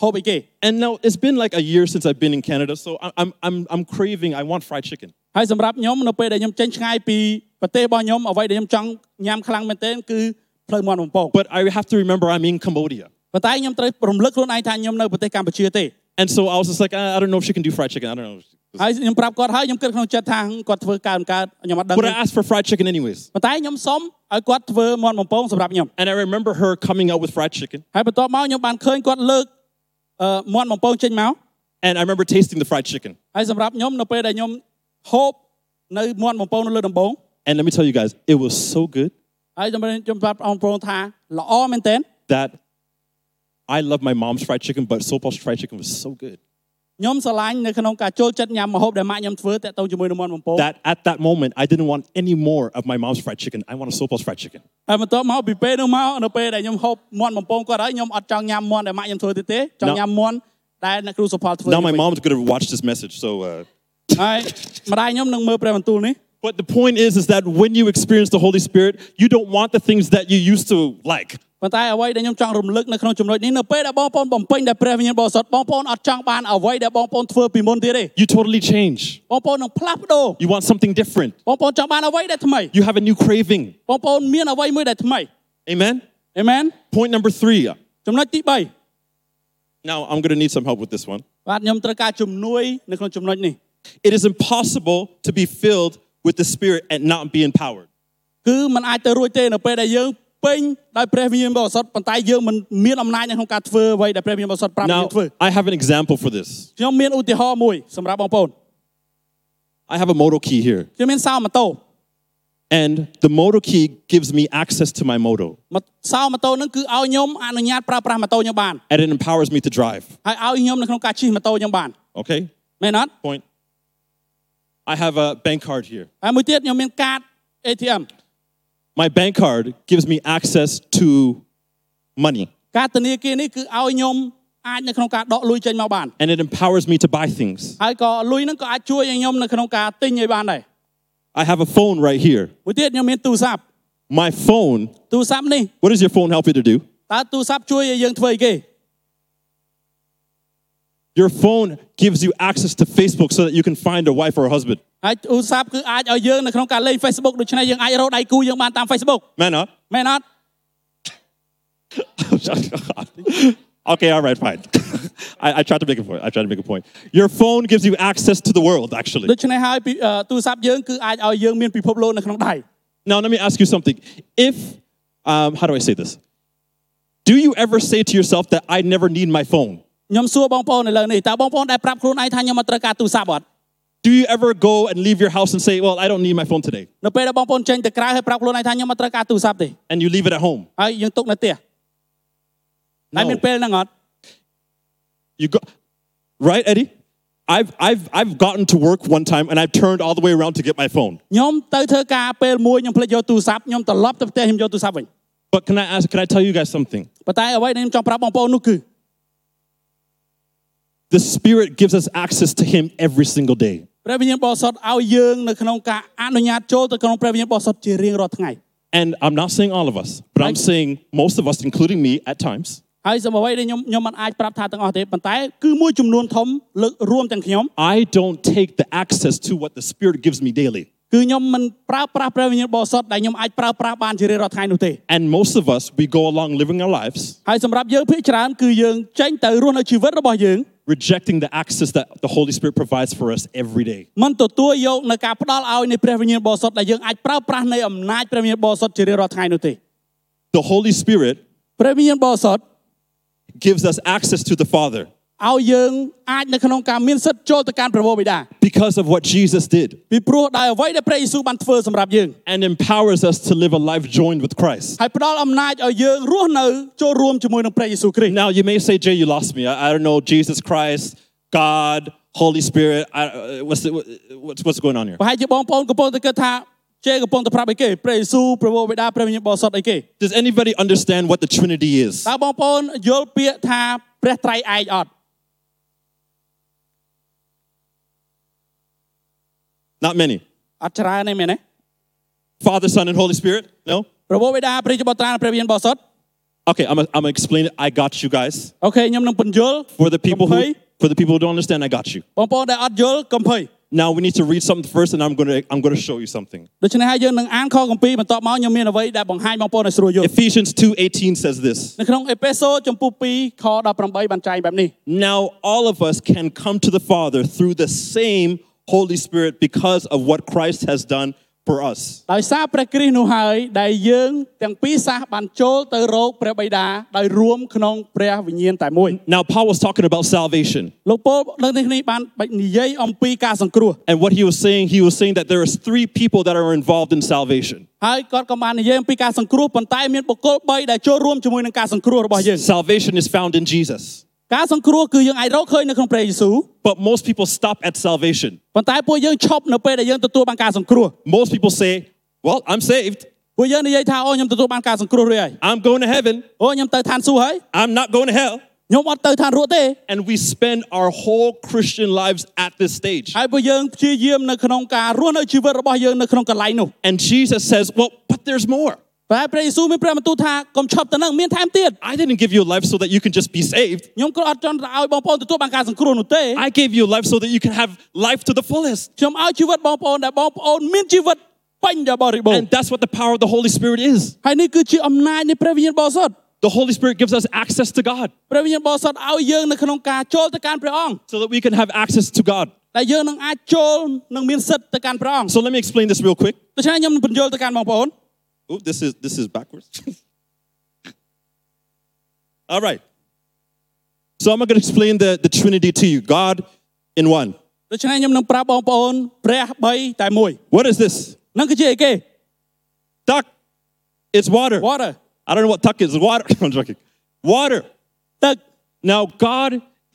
S2: ហូបអីគេ
S1: And now it's been like a year since I've been in Canada, so I- I'm, I'm, I'm craving, I want fried chicken.
S2: ហើយសម្រាប់ខ្ញុំនៅពេលដែលខ្ញុំចេញឆ្ងាយពីប្រទេសរបស់ខ្ញុំអ្វីដែលខ្ញុំចង់ញ៉ាំខ្លាំងមែនទែនគឺផ្លូវមន់បំពង
S1: But I have to remember I'm in Cambodia.
S2: ប៉ុន្តែខ្ញុំត្រូវរំលឹកខ្លួនឯងថាខ្ញុំនៅប្រទេសកម្ពុជាទេ
S1: And so I was just like, "Ah, I, I don't know if she can do fried chicken. I don't know.
S2: ហើយខ្ញុំប្រាប់គាត់ហើយខ្ញុំគិតក្នុងចិត្តថាហឹមគាត់ធ្វើកើនកើតខ្ញុំអត់ដឹង
S1: But
S2: ទេ
S1: I asked for fried chicken anyways.
S2: ប៉ុន្តែខ្ញុំសុំឲ្យគាត់ធ្វើមន់បំពងសម្រាប់ខ្ញុំ
S1: And I remember her coming out with fried chicken.
S2: ហើយបន្ទាប់មកខ្ញុំបានឃើញគាត់លើកអឺមន់បំពងចេញមក
S1: And I remember tasting the fried chicken.
S2: ហើយសម្រាប់ខ្ញុំនៅពេលដែលខ្ញុំហូបនៅមន់បំពងនៅលើដំបង
S1: And let me tell you guys, it was so good
S2: ហើយខ្ញុំបានខ្ញុំប្រាប់អង្គប្រងថាល្អមែនទែន
S1: that I love my mom's fried chicken, but Sopal's fried chicken was so good
S2: ខ្ញុំស្រឡាញ់នៅក្នុងការចូលចិត្តញ៉ាំម្ហូបដែលម៉ាក់ខ្ញុំធ្វើតាក់ទងជាមួយនឹងមន់បំពង
S1: that at that moment, I didn't want any more of my mom's fried chicken. I wanted Sopal's fried chicken.
S2: ហើយបន្ទាប់មកពីពេលនោះមកនៅពេលដែលខ្ញុំហូបមន់បំពងគាត់ហើយខ្ញុំអត់ចង់ញ៉ាំមន់ដែលម៉ាក់ខ្ញុំធ្វើទៀតទេចង់
S1: No.
S2: ញ៉ាំមន់ដែលអ្នកគ្រូសុផលធ្វើ
S1: Now my mom's going to watch this message, so. Uh,
S2: ហើយម្ដាយខ្ញុំនឹងមើលព្រះបន្ទូលនេះ
S1: But the point is, is that when you experience the Holy Spirit, you don't want the things that you used to like.
S2: ប៉ុន្តែអ្វីដែលខ្ញុំចង់រំលឹកនៅក្នុងចំណុចនេះនៅពេលដែលបងប្អូនបំពេញដែលព្រះវិញ្ញាណបរិសុទ្ធបងប្អូនអត់ចង់បានអ្វីដែលបងប្អូនធ្វើពីមុនទៀតទេ
S1: You totally change.
S2: បងប្អូននឹងផ្លាស់ប្ដូរ
S1: You want something different.
S2: បងប្អូនចង់បានអ្វីដែលថ្មី
S1: You have a new craving.
S2: បងប្អូនមានអ្វីមួយដែលថ្មី
S1: Amen.
S2: អេមែន
S1: Point number three.
S2: ចំណុចទី3
S1: Now I'm going to need some help with this one.
S2: បាទខ្ញុំត្រូវការជំនួយនៅក្នុងចំណុចនេះ
S1: It is impossible to be filled with the Spirit and not be empowered.
S2: គឺมันអាចទៅរួចទេនៅពេលដែលយើងពេញដោយព្រះវិញ្ញាណបរិសុទ្ធប៉ុន្តែយើងមិនមានអំណាចនៅក្នុងការធ្វើអ្វីដែលព្រះវិញ្ញាណបរិសុទ្ធប្រាប់យើ
S1: Now
S2: ងធ្វើ
S1: I have an example for this.
S2: ខ្ញុំមានឧទាហរណ៍មួយសម្រាប់បងប្អូន
S1: I have a moto key here,
S2: ខ្ញុំមានសោម៉ូតូ
S1: and the moto key gives me access to my moto,
S2: ម៉ូតូសោម៉ូតូហ្នឹងគឺឲ្យខ្ញុំអនុញ្ញាតប្រើប្រាស់ម៉ូតូខ្ញុំបាន
S1: and it empowers me to drive.
S2: ហើយឲ្យខ្ញុំនៅក្នុងការជិះម៉ូតូខ្ញុំបាន
S1: Okay.
S2: មែនអត់
S1: Point. I have a bank card here.
S2: ហើយមួយទៀតខ្ញុំមានកាត ATM
S1: my bank card gives me access to money
S2: កាតធនាគារនេះគឺឲ្យខ្ញុំអាចនៅក្នុងការដកលុយចេញមកបាន
S1: and it empowers me to buy things.
S2: ហើយក៏លុយហ្នឹងក៏អាចជួយឲ្យខ្ញុំនៅក្នុងការទិញឲ្យបានដែរ
S1: I have a phone right here.
S2: មួយទៀតខ្ញុំមានទូរស័ព្ទ
S1: My phone,
S2: ទូរស័ព្ទនេះ
S1: what does your phone help you to do?
S2: តើទូរស័ព្ទជួយឲ្យយើងធ្វើអីគេ
S1: Your phone gives you access to Facebook so that you can find a wife or a husband.
S2: ហើយទូរស័ព្ទគឺអាចឲ្យយើងនៅក្នុងការលេង Facebook ដូច្នេះយើងអាចរកដៃគូយើងបានតាម Facebook
S1: Man up. *laughs*
S2: មែនអត់
S1: okay, all right, fine. *laughs* I, I tried to make a point. I tried to make a point. Your phone gives you access to the world, actually.
S2: ដូច្នេះហើយពីអឺទូរស័ព្ទយើងគឺអាចឲ្យយើងមានពិភពលោកនៅក្នុងដៃ
S1: Now, let me ask you something. If, um, how do I say this? Do you ever say to yourself that I never need my phone?
S2: ខ្ញុំសួរបងប្អូននៅលើនេះតើបងប្អូនដែលប្រាប់ខ្លួនឯងថាខ្ញុំអត់ត្រូវការទូរស័ព្ទអត់
S1: Do you ever go and leave your house and say, Well, I don't need my phone today?
S2: នៅពេលដែលបងប្អូនចេញទៅក្រៅហើយប្រាប់ខ្លួនឯងថាខ្ញុំអត់ត្រូវការទូរស័ព្ទទេ
S1: And you leave it at home?
S2: ហើយយើងទុកនៅផ្ទះហើយ
S1: No.
S2: មានពេលហ្នឹងអត់
S1: You go, right, Eddie? I've, I've, I've gotten to work one time and I turned all the way around to get my phone.
S2: ខ្ញុំទៅធ្វើការពេលមួយខ្ញុំភ្លេចយកទូរស័ព្ទខ្ញុំត្រឡប់ទៅផ្ទះខ្ញុំយកទូរស័ព្ទវិញ
S1: But can I ask, can I tell you guys something?
S2: ប៉ុន្តែអ្វីដែលខ្ញុំចង់ប្រាប់បងប្អូននោះគឺ
S1: The Spirit gives us access to Him every single day.
S2: ព្រះវិញ្ញាណបរិសុទ្ធឲ្យយើងនៅក្នុងការអនុញ្ញាតចូលទៅក្នុងព្រះវិញ្ញាណបរិសុទ្ធជារៀងរាល់ថ្ងៃ
S1: And I'm not saying all of us, but I'm
S2: Right.
S1: saying most of us, including me at times,
S2: ហើយសម្រាប់អ្វីដែលខ្ញុំខ្ញុំមិនអាចប្រាប់ថាទាំងអស់ទេប៉ុន្តែគឺមួយចំនួនធំលើករួមទាំងខ្ញុំ
S1: I don't take the access to what the Spirit gives me daily.
S2: គឺខ្ញុំមិនប្រើប្រាស់ព្រះវិញ្ញាណបរិសុទ្ធដែលខ្ញុំអាចប្រើប្រាស់បានជារៀងរាល់ថ្ងៃនោះទេ
S1: And most of us, we go along living our lives,
S2: ហើយសម្រាប់យើងភាគច្រើនគឺយើងចេញទៅរស់នៅជីវិតរបស់យើង
S1: rejecting the access that the Holy Spirit provides for us every day.
S2: មិនទទួលយកនៅការផ្ដល់ឲ្យនៃព្រះវិញ្ញាណបរិសុទ្ធដែលយើងអាចប្រើប្រាស់នៃអំណាចព្រះវិញ្ញាណបរិសុទ្ធជារៀងរាល់ថ្ងៃនោះទេ
S1: The Holy Spirit
S2: ព្រះវិញ្ញាណបរិសុទ្ធ
S1: gives us access to the Father.
S2: ឲ្យយើងអាចនៅក្នុងការមានសិទ្ធិចូលទៅកាន់ព្រះវរបិតា
S1: because of what Jesus did
S2: ពីព្រោះដោយអ្វីដែលព្រះយេស៊ូវបានធ្វើសម្រាប់យើង
S1: and empowers us to live a life joined with Christ.
S2: ហើយផ្ដល់អំណាចឲ្យយើងរស់នៅចូលរួមជាមួយនឹងព្រះយេស៊ូវគ្រីស្ទ
S1: Now, you may say, Jay, you lost me. I, I don't know, Jesus Christ, God, Holy Spirit. I, uh, what's, the, what's, what's going on here?
S2: ប្រហែលជាបងប្អូនកំពុងតែគិតថាជេកំពុងតែប្រាប់អីគេព្រះយេស៊ូវព្រះវរបិតាព្រះវិញ្ញាណបរិសុទ្ធអីគេ
S1: Does anybody understand what the Trinity is?
S2: តើបងប្អូនយល់ពាក្យថាព្រះត្រៃឯកអត់
S1: Not many.
S2: អត់ច្រើនទេមែនទេ
S1: Father, Son, and Holy Spirit? No?
S2: ព្រះវរបិតាព្រះជាបត្រានិងព្រះវិញ្ញាណបរិសុទ្ធ
S1: Okay, I'm gonna I'm gonna explain it. I got you guys.
S2: អូខេខ្ញុំនឹងបញ្យល់
S1: For the people who
S2: Okay.
S1: for the people who don't understand, I got you.
S2: បងប្អូនដែលអត់យល់កំភៃ
S1: Now we need to read something first, and I'm gonna I'm gonna show you something.
S2: ដូច្នេះហើយយើងនឹងអានខគម្ពីរបន្ទាប់មកខ្ញុំមានអ្វីដែលបង្ហាញបងប្អូនឲ្យស្រួលយល់
S1: Ephesians 2:18 says this.
S2: នៅក្នុងអេពេសូចំពោះ2ខ18បានចែងបែបនេះ
S1: Now all of us can come to the Father through the same Holy Spirit because of what Christ has done for us.
S2: ដោយសារព្រះគ្រីស្ទនោះហើយដែលយើងទាំងពីរសះបានចូលទៅរកព្រះបិតាដោយរួមក្នុងព្រះវិញ្ញាណតែមួយ
S1: Now Paul was talking about salvation,
S2: លោកពូលនៅទីនេះបាននិយាយអំពីការសង្គ្រោះ
S1: and what he was saying, he was saying that there is three people that are involved in salvation.
S2: ហើយគាត់ក៏បាននិយាយអំពីការសង្គ្រោះប៉ុន្តែមានបុគ្គល3ដែលចូលរួមជាមួយនឹងការសង្គ្រោះរបស់យើង
S1: Salvation is found in Jesus,
S2: ការសង្គ្រោះគឺយើងអាចរកឃើញនៅក្នុងព្រះយេស៊ូវ
S1: but most people stop at salvation.
S2: ប៉ុន្តែពួកយើងឈប់នៅពេលដែលយើងទទួលបានការសង្គ្រោះ
S1: Most people say, "Well, I'm saved.
S2: ពួកយើងនិយាយថាអូខ្ញុំទទួលបានការសង្គ្រោះរួចហើយ
S1: I'm going to heaven.
S2: អូខ្ញុំទៅឋានសួគ៌ហើយ
S1: I'm not going to hell."
S2: ខ្ញុំអត់ទៅឋានរកទេ
S1: and we spend our whole Christian lives at this stage.
S2: ហើយពួកយើងព្យាយាមនៅក្នុងការរស់នៅជីវិតរបស់យើងនៅក្នុងកន្លែងនោះ
S1: And Jesus says, Well, but there's more.
S2: តែព្រះយេស៊ូវមានព្រះបន្ទូលថាកុំឈប់ទៅនឹងមានថែមទៀត
S1: I didn't give you a life so that you can just be saved.
S2: ខ្ញុំក៏អត់ចង់ឲ្យបងប្អូនទទួលបានការសង្គ្រោះនោះទេ
S1: I gave you a life so that you can have life to the fullest.
S2: ខ្ញុំឲ្យជីវិតបងប្អូនដែលបងប្អូនមានជីវិតពេញដល់បរិបូរណ៍
S1: And that's what the power of the Holy Spirit is.
S2: ហើយនេះគឺជាអំណាចនៃព្រះវិញ្ញាណបរិសុទ្ធ
S1: The Holy Spirit gives us access to God
S2: ព្រះវិញ្ញាណបរិសុទ្ធឲ្យយើងនៅក្នុងការចូលទៅកាន់ព្រះអង្គ
S1: so that we can have access to God.
S2: ដែលយើងនឹងអាចចូលនិងមានសិទ្ធិទៅកាន់ព្រះអង្គ
S1: So let me explain this real quick.
S2: ដូច្នេះខ្ញុំនឹងបញ្យល់ទៅកាន់បងប្អូន
S1: Oh, this is this is backwards. *laughs* All right. So I'm going to explain the, the Trinity to you. God in one.
S2: ដូច្នេះខ្ញុំនឹងប្រាប់បងប្អូនព្រះ3តែមួយ
S1: What is this?
S2: នឹងគឺជាអីគេ
S1: Duck. It's water.
S2: water
S1: I don't know what tuck is. Water. *laughs* I'm joking. Water.
S2: ទឹក
S1: Now, God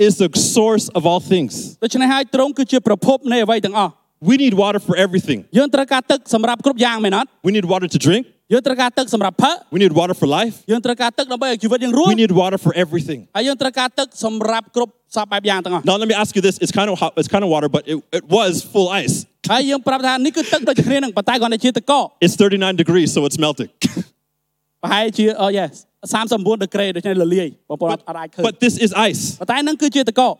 S1: is the source of all things.
S2: ដូច្នេះហើយទ្រង់គឺជាប្រភពនៃអ្វីទាំងអស់
S1: We need water for everything.
S2: យើងត្រូវការទឹកសម្រាប់គ្រប់យ៉ាងមែនអត់
S1: We need water to drink.
S2: យើងត្រូវការទឹកសម្រាប់ផឹក
S1: We need water for life.
S2: យើងត្រូវការទឹកដើម្បីឲ្យជីវិតយើងរស់
S1: We need water for everything.
S2: ហើយយើងត្រូវការទឹកសម្រាប់គ្រប់សពបែបយ៉ាងទាំងអស់
S1: Now, let me ask you this. It's kind of hot. It's kind of water, but it, it was full ice.
S2: ហើយយើងប្រាប់ថានេះគឺទឹកដូចគ្នានឹងប៉ុន្តែគ្រាន់តែជាទឹកកក
S1: It's 39 degrees, so it's melting. *laughs*
S2: ប្រហែលជាអូ yes 39ដឺក្រេដូចនេះលលាយបងប្អូនអត់អាចឃើញ
S1: but this is ice.
S2: ប៉ុន្តែនឹងគឺជាទឹកកក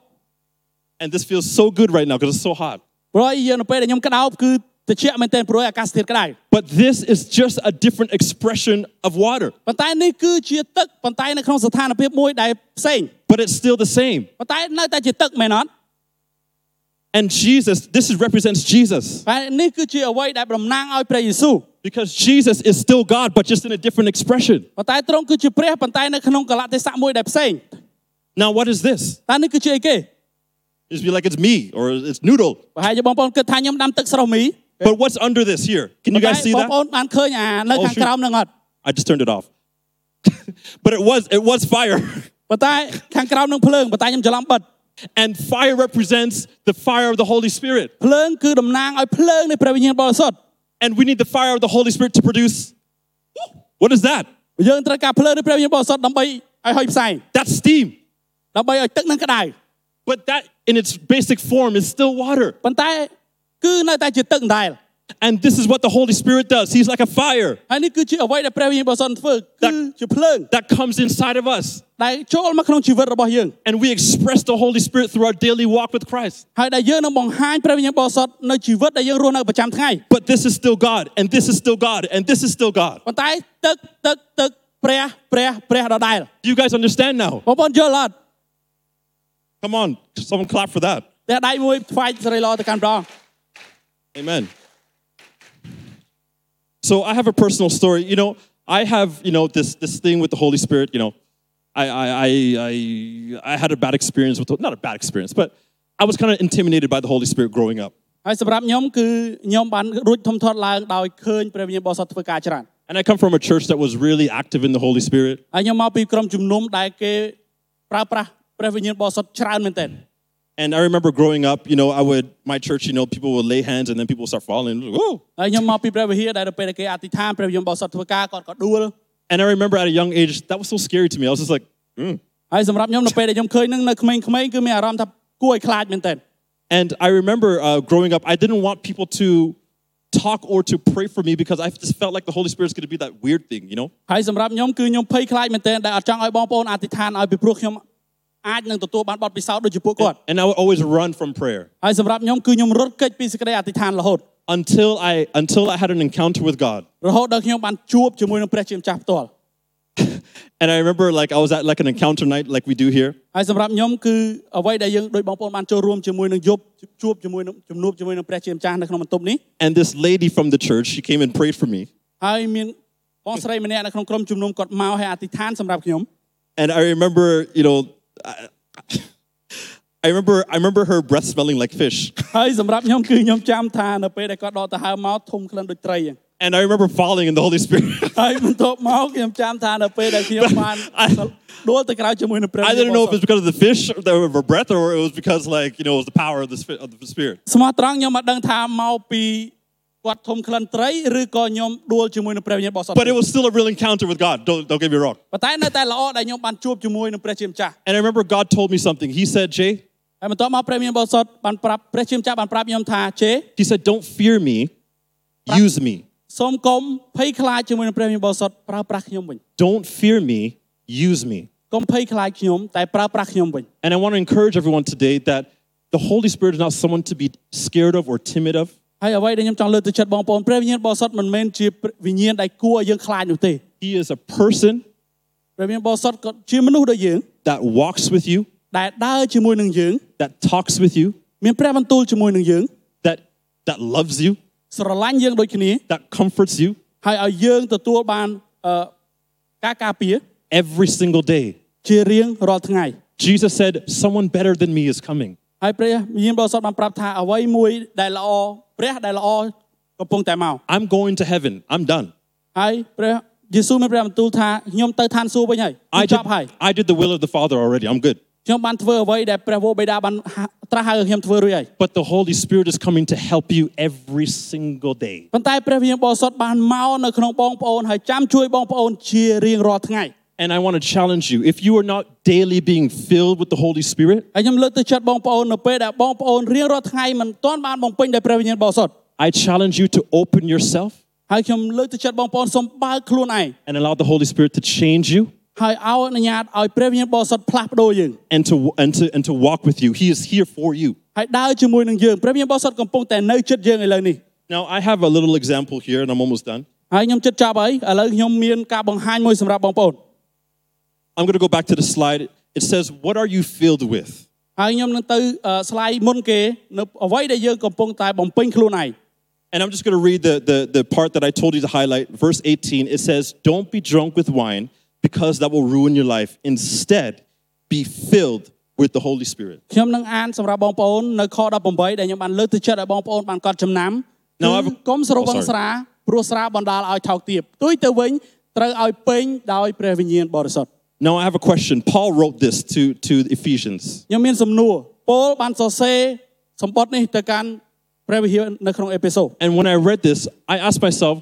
S1: And this feels so good right now because it's so hot.
S2: ព្រោះយើងនៅពេលដែលខ្ញុំក្តោបគឺត្រជាក់មែនទែនព្រោះអាកាសធាតុក្តៅ
S1: But this is just a different expression of water,
S2: ប៉ុន្តែនេះគឺជាទឹកប៉ុន្តែនៅក្នុងស្ថានភាពមួយដែលផ្សេង
S1: but it's still the same.
S2: ប៉ុន្តែនៅតែជាទឹកមែនអត់
S1: And Jesus, this is, represents Jesus
S2: ហើយនេះគឺជាអ្វីដែលតំណាងឲ្យព្រះយេស៊ូវ
S1: because Jesus is still God, but just in a different expression.
S2: ប៉ុន្តែទ្រង់គឺជាព្រះប៉ុន្តែនៅក្នុងកលៈទេសៈមួយដែលផ្សេង
S1: Now, what is this?
S2: តើនេះគឺជាអីគេ
S1: Just be like, it's me or it's noodle.
S2: ប្រហែលជាបងប្អូនគិតថាខ្ញុំដាំទឹកស្រស់មី
S1: But what's under this here? Can you
S2: តែ
S1: guys see
S2: បងប្អូន
S1: that?
S2: បានឃើញអានៅ
S1: Oh,
S2: ខាង
S1: shoot.
S2: ក្រោមហ្នឹងអត់
S1: I just turned it off. *laughs* but it was it was fire. *laughs*
S2: ប៉ុន្តែខាងក្រោមនឹងភ្លើងប៉ុន្តែខ្ញុំច្រឡំបិទ
S1: And fire represents the fire of the Holy Spirit.
S2: ភ្លើងគឺតំណាងឲ្យភ្លើងនៃព្រះវិញ្ញាណបរិសុទ្ធ
S1: And we need the fire of the Holy Spirit to produce what is that?
S2: យើងត្រូវការភ្លើងនៃព្រះវិញ្ញាណបរិសុទ្ធដើម្បីឲ្យហុយផ្សែង
S1: That's steam.
S2: ដើម្បីឲ្យទឹកនឹងក្តៅ
S1: But that in its basic form is still water.
S2: ប៉ុន្តែគឺនៅតែជាទឹកដដែល
S1: And this is what the Holy Spirit does. He's like a fire
S2: ហើយនេះគឺជាអ្វីដែលព្រះវិញ្ញាណបរិសុទ្ធធ្វើ
S1: តែ
S2: គឺជាភ្លើង
S1: that comes inside of us.
S2: ដែលចូលមកក្នុងជីវិតរបស់យើង
S1: And we express the Holy Spirit through our daily walk with Christ.
S2: ហើយដែលយើងនឹងបង្ហាញព្រះវិញ្ញាណបរិសុទ្ធនៅជីវិតដែលយើងរស់នៅប្រចាំថ្ងៃ
S1: But this is still God, and this is still God, and this is still God.
S2: ប៉ុន្តែទឹកទឹកទឹកព្រះព្រះព្រះដដែល
S1: Do you guys understand now?
S2: បងប្អូនយល់អត់
S1: Come on, someone clap for that.
S2: តែដៃមួយថ្វាយសេរីឡទៅកាន់ព្រះអង្គ
S1: Amen. So I have a personal story. You know, I have, you know, this this thing with the Holy Spirit, you know. I I, I, I, I, I had a bad experience with, the- not a bad experience, but I was kind of intimidated by the Holy Spirit growing up.
S2: ហើយសម្រាប់ខ្ញុំគឺខ្ញុំបានរួចធំធាត់ឡើងដោយឃើញព្រះវិញ្ញាណបរិសុទ្ធធ្វើការច្រើន
S1: And I come from a church that was really active in the Holy Spirit.
S2: ហើយខ្ញុំមកពីក្រុមជំនុំដែលគេប្រើប្រាស់ព្រះវិញ្ញាណបរិសុទ្ធច្រើនមែនទែន
S1: And I remember growing up, you know, I would, my church, you know, people would lay hands and then people would start falling. Whoa.
S2: ហើយខ្ញុំមកពីព្រះវិហារដែលទៅពេលដែលគេអធិដ្ឋានព្រះវិញ្ញាណបរិសុទ្ធធ្វើការគាត់ក៏ដួល
S1: And I remember at a young age, that was so scary to me. I was just like, mm.
S2: ហើយសម្រាប់ខ្ញុំនៅពេលដែលខ្ញុំឃើញហ្នឹងនៅក្មេងៗគឺមានអារម្មណ៍ថាគួរឲ្យខ្លាចមែនទែន
S1: And I remember uh, growing up, I didn't want people to talk or to pray for me because I just felt like the Holy Spirit's going to be that weird thing, you know?
S2: ហើយសម្រាប់ខ្ញុំគឺខ្ញុំភ័យខ្លាចមែនទែនដែលអត់ចង់ឲ្យបងប្អូនអធិដ្ឋានឲ្យពីព្រោះខ្ញុំអាចនឹងទទួលបានបទពិសោធន៍ដូចជាពួកគាត់
S1: And I would always run from prayer
S2: ហើយសម្រាប់ខ្ញុំគឺខ្ញុំរត់គេចពីសេចក្តីអធិដ្ឋានរហូត
S1: until I, until I had an encounter with God.
S2: រហូតដល់ខ្ញុំបានជួបជាមួយនឹងព្រះជាម្ចាស់ផ្ទាល់
S1: And I remember like I was at like an encounter night like we do here.
S2: ហើយសម្រាប់ខ្ញុំគឺអ្វីដែលយើងដូចបងប្អូនបានចូលរួមជាមួយនឹងយប់ជួបជាមួយនឹងជំនួបជាមួយនឹងព្រះជាម្ចាស់នៅក្នុងបន្ទប់នេះ
S1: And this lady from the church, she came and prayed for me.
S2: ហើយមានបងស្រីម្នាក់នៅក្នុងក្រុមជំនុំគាត់មកឲ្យអធិដ្ឋានសម្រាប់ខ្ញុំ
S1: And I remember, you know, I, I remember I remember her breath smelling like fish.
S2: ហើយសម្រាប់ខ្ញុំគឺខ្ញុំចាំថានៅពេលដែលគាត់ដកដង្ហើមមកធំក្លិនដូចត្រីហ្នឹង
S1: And I remember falling in the Holy Spirit. *laughs*
S2: ហើយបន្ទាប់មកខ្ញុំចាំថានៅពេលដែលខ្ញុំបាន ដួលទៅក្រៅជាមួយនឹងព្រះ
S1: I didn't know if it was because of the fish or the or her breath or it was because like, you know, it was the power of the, spi- of the spirit.
S2: ស្មោះត្រង់ខ្ញុំមិនដឹងថាមកពីគាត់ធំក្លិនត្រីឬក៏ខ្ញុំដួលជាមួយនឹងព្រះវិញ្ញាណបរិសុទ្ធ
S1: But it was still a real encounter with God. Don't don't get me wrong.
S2: ប៉ុន្តែនៅតែល្អដែលខ្ញុំបានជួបជាមួយនឹងព្រះជាម្ចាស់
S1: And I remember God told me something. He said, "Jay,
S2: ហើយបន្ទាប់មកព្រះវិញ្ញាណបរិសុទ្ធបានប្រាប់ព្រះជាម្ចាស់បានប្រាប់ខ្ញុំថាជេ
S1: he said, "Don't fear me. Use me.
S2: សូមកុំភ័យខ្លាចជាមួយនឹងព្រះវិញ្ញាណបរិសុទ្ធប្រើប្រាស់ខ្ញុំវិញ
S1: Don't fear me. Use me."
S2: កុំភ័យខ្លាចខ្ញុំតែប្រើប្រាស់ខ្ញុំវិញ
S1: And I want to encourage everyone today that the Holy Spirit is not someone to be scared of or timid of.
S2: ហើយអ្វីដែលខ្ញុំចង់លើកទៅចិត្តបងប្អូនព្រះវិញ្ញាណបរិសុទ្ធមិនមែនជាព្រះវិញ្ញាណដែលគួរឲ្យយើងខ្លាចនោះទេ
S1: He is a person
S2: ព្រះវិញ្ញាណបរិសុទ្ធក៏ជាមនុស្សដូចយើង
S1: that walks with you,
S2: ដែលដើរជាមួយនឹងយើង
S1: that talks with you,
S2: មានព្រះបន្ទូលជាមួយនឹងយើង
S1: that that loves you,
S2: ស្រឡាញ់យើងដូចគ្នា
S1: that comforts you
S2: ហើយឲ្យយើងទទួលបានអឺការការពារ
S1: every single day.
S2: ជារៀងរាល់ថ្ងៃ
S1: Jesus said, "Someone better than me is coming."
S2: ហើយព្រះវិញ្ញាណបរិសុទ្ធបានប្រាប់ថាអ្វីមួយដែលល្អព្រះដែលល្អកំពុងតែមក
S1: I'm going to heaven. I'm done.
S2: ហើយព្រះយេស៊ូវមានព្រះបន្ទូលថាខ្ញុំទៅឋានសួគ៌វិញហើយ
S1: I did,
S2: ខ្ញុំចប់ហើយ
S1: I did the will of the Father already. I'm good.
S2: ខ្ញុំបានធ្វើអ្វីដែលព្រះវរបិតាបានហាត្រាស់ហៅឲ្យខ្ញុំធ្វើរួចហើយ
S1: But the Holy Spirit is coming to help you every single day.
S2: ប៉ុន្តែព្រះវិញ្ញាណបរិសុទ្ធបានមកនៅក្នុងបងប្អូនហើយចាំជួយបងប្អូនជារៀងរាល់ថ្ងៃ
S1: And I want to challenge you if you are not daily being filled with the Holy Spirit,
S2: ហើយខ្ញុំលើកទៅចិត្តបងប្អូននៅពេលដែលបងប្អូនរៀងរាល់ថ្ងៃមិនទាន់បានបំពេញដោយព្រះវិញ្ញាណបរិសុទ្ធ
S1: I challenge you to open yourself
S2: ហើយខ្ញុំលើកទៅចិត្តបងប្អូនសូមបើកខ្លួនឯង
S1: and allow the Holy Spirit to change you
S2: ហើយឲ្យអនុញ្ញាតឲ្យព្រះវិញ្ញាណបរិសុទ្ធផ្លាស់ប្ដូរយើង
S1: and to, and to, and to walk with you. He is here for you.
S2: ហើយដើរជាមួយនឹងយើងព្រះវិញ្ញាណបរិសុទ្ធកំពុងតែនៅចិត្តយើងឥឡូវនេះ
S1: Now, I have a little example here, and I'm almost done.
S2: ហើយខ្ញុំចិត្តចាប់ហើយឥឡូវខ្ញុំមានការបង្ហាញមួយសម្រាប់បងប្អូន
S1: I'm going to go back to the slide. It says, What are you filled with?
S2: ហើយខ្ញុំនឹងទៅស្លាយមុនគេនៅអ្វីដែលយើងកំពុងតែបំពេញខ្លួនឯង
S1: And I'm just going to read the, the, the part that I told you to highlight. Verse 18, it says, Don't be drunk with wine because that will ruin your life. Instead, be filled with the Holy Spirit.
S2: ខ្ញុំនឹងអានសម្រាប់បងប្អូននៅខ18ដែលខ្ញុំបានលើកទៅចិត្តឲ្យបងប្អូនបានកត់ចំណាំ
S1: No, I've-
S2: គឺកុំសរុប
S1: Oh,
S2: វ
S1: sorry.
S2: ង្សស្រាព្រោះស្រាបណ្ដាលឲ្យថោកទាបទុយទៅវិញត្រូវឲ្យពេញដោយព្រះវិញ្ញាណបរិសុទ្ធ
S1: Now, I have a question. Paul wrote this to, to the Ephesians.
S2: ខ្ញុំមានសំណួរពលបានសរសេរសម្បត្តិនេះទៅកាន់ព្រះវិហារនៅក្នុងអេពីសូត
S1: And when I read this, I asked myself,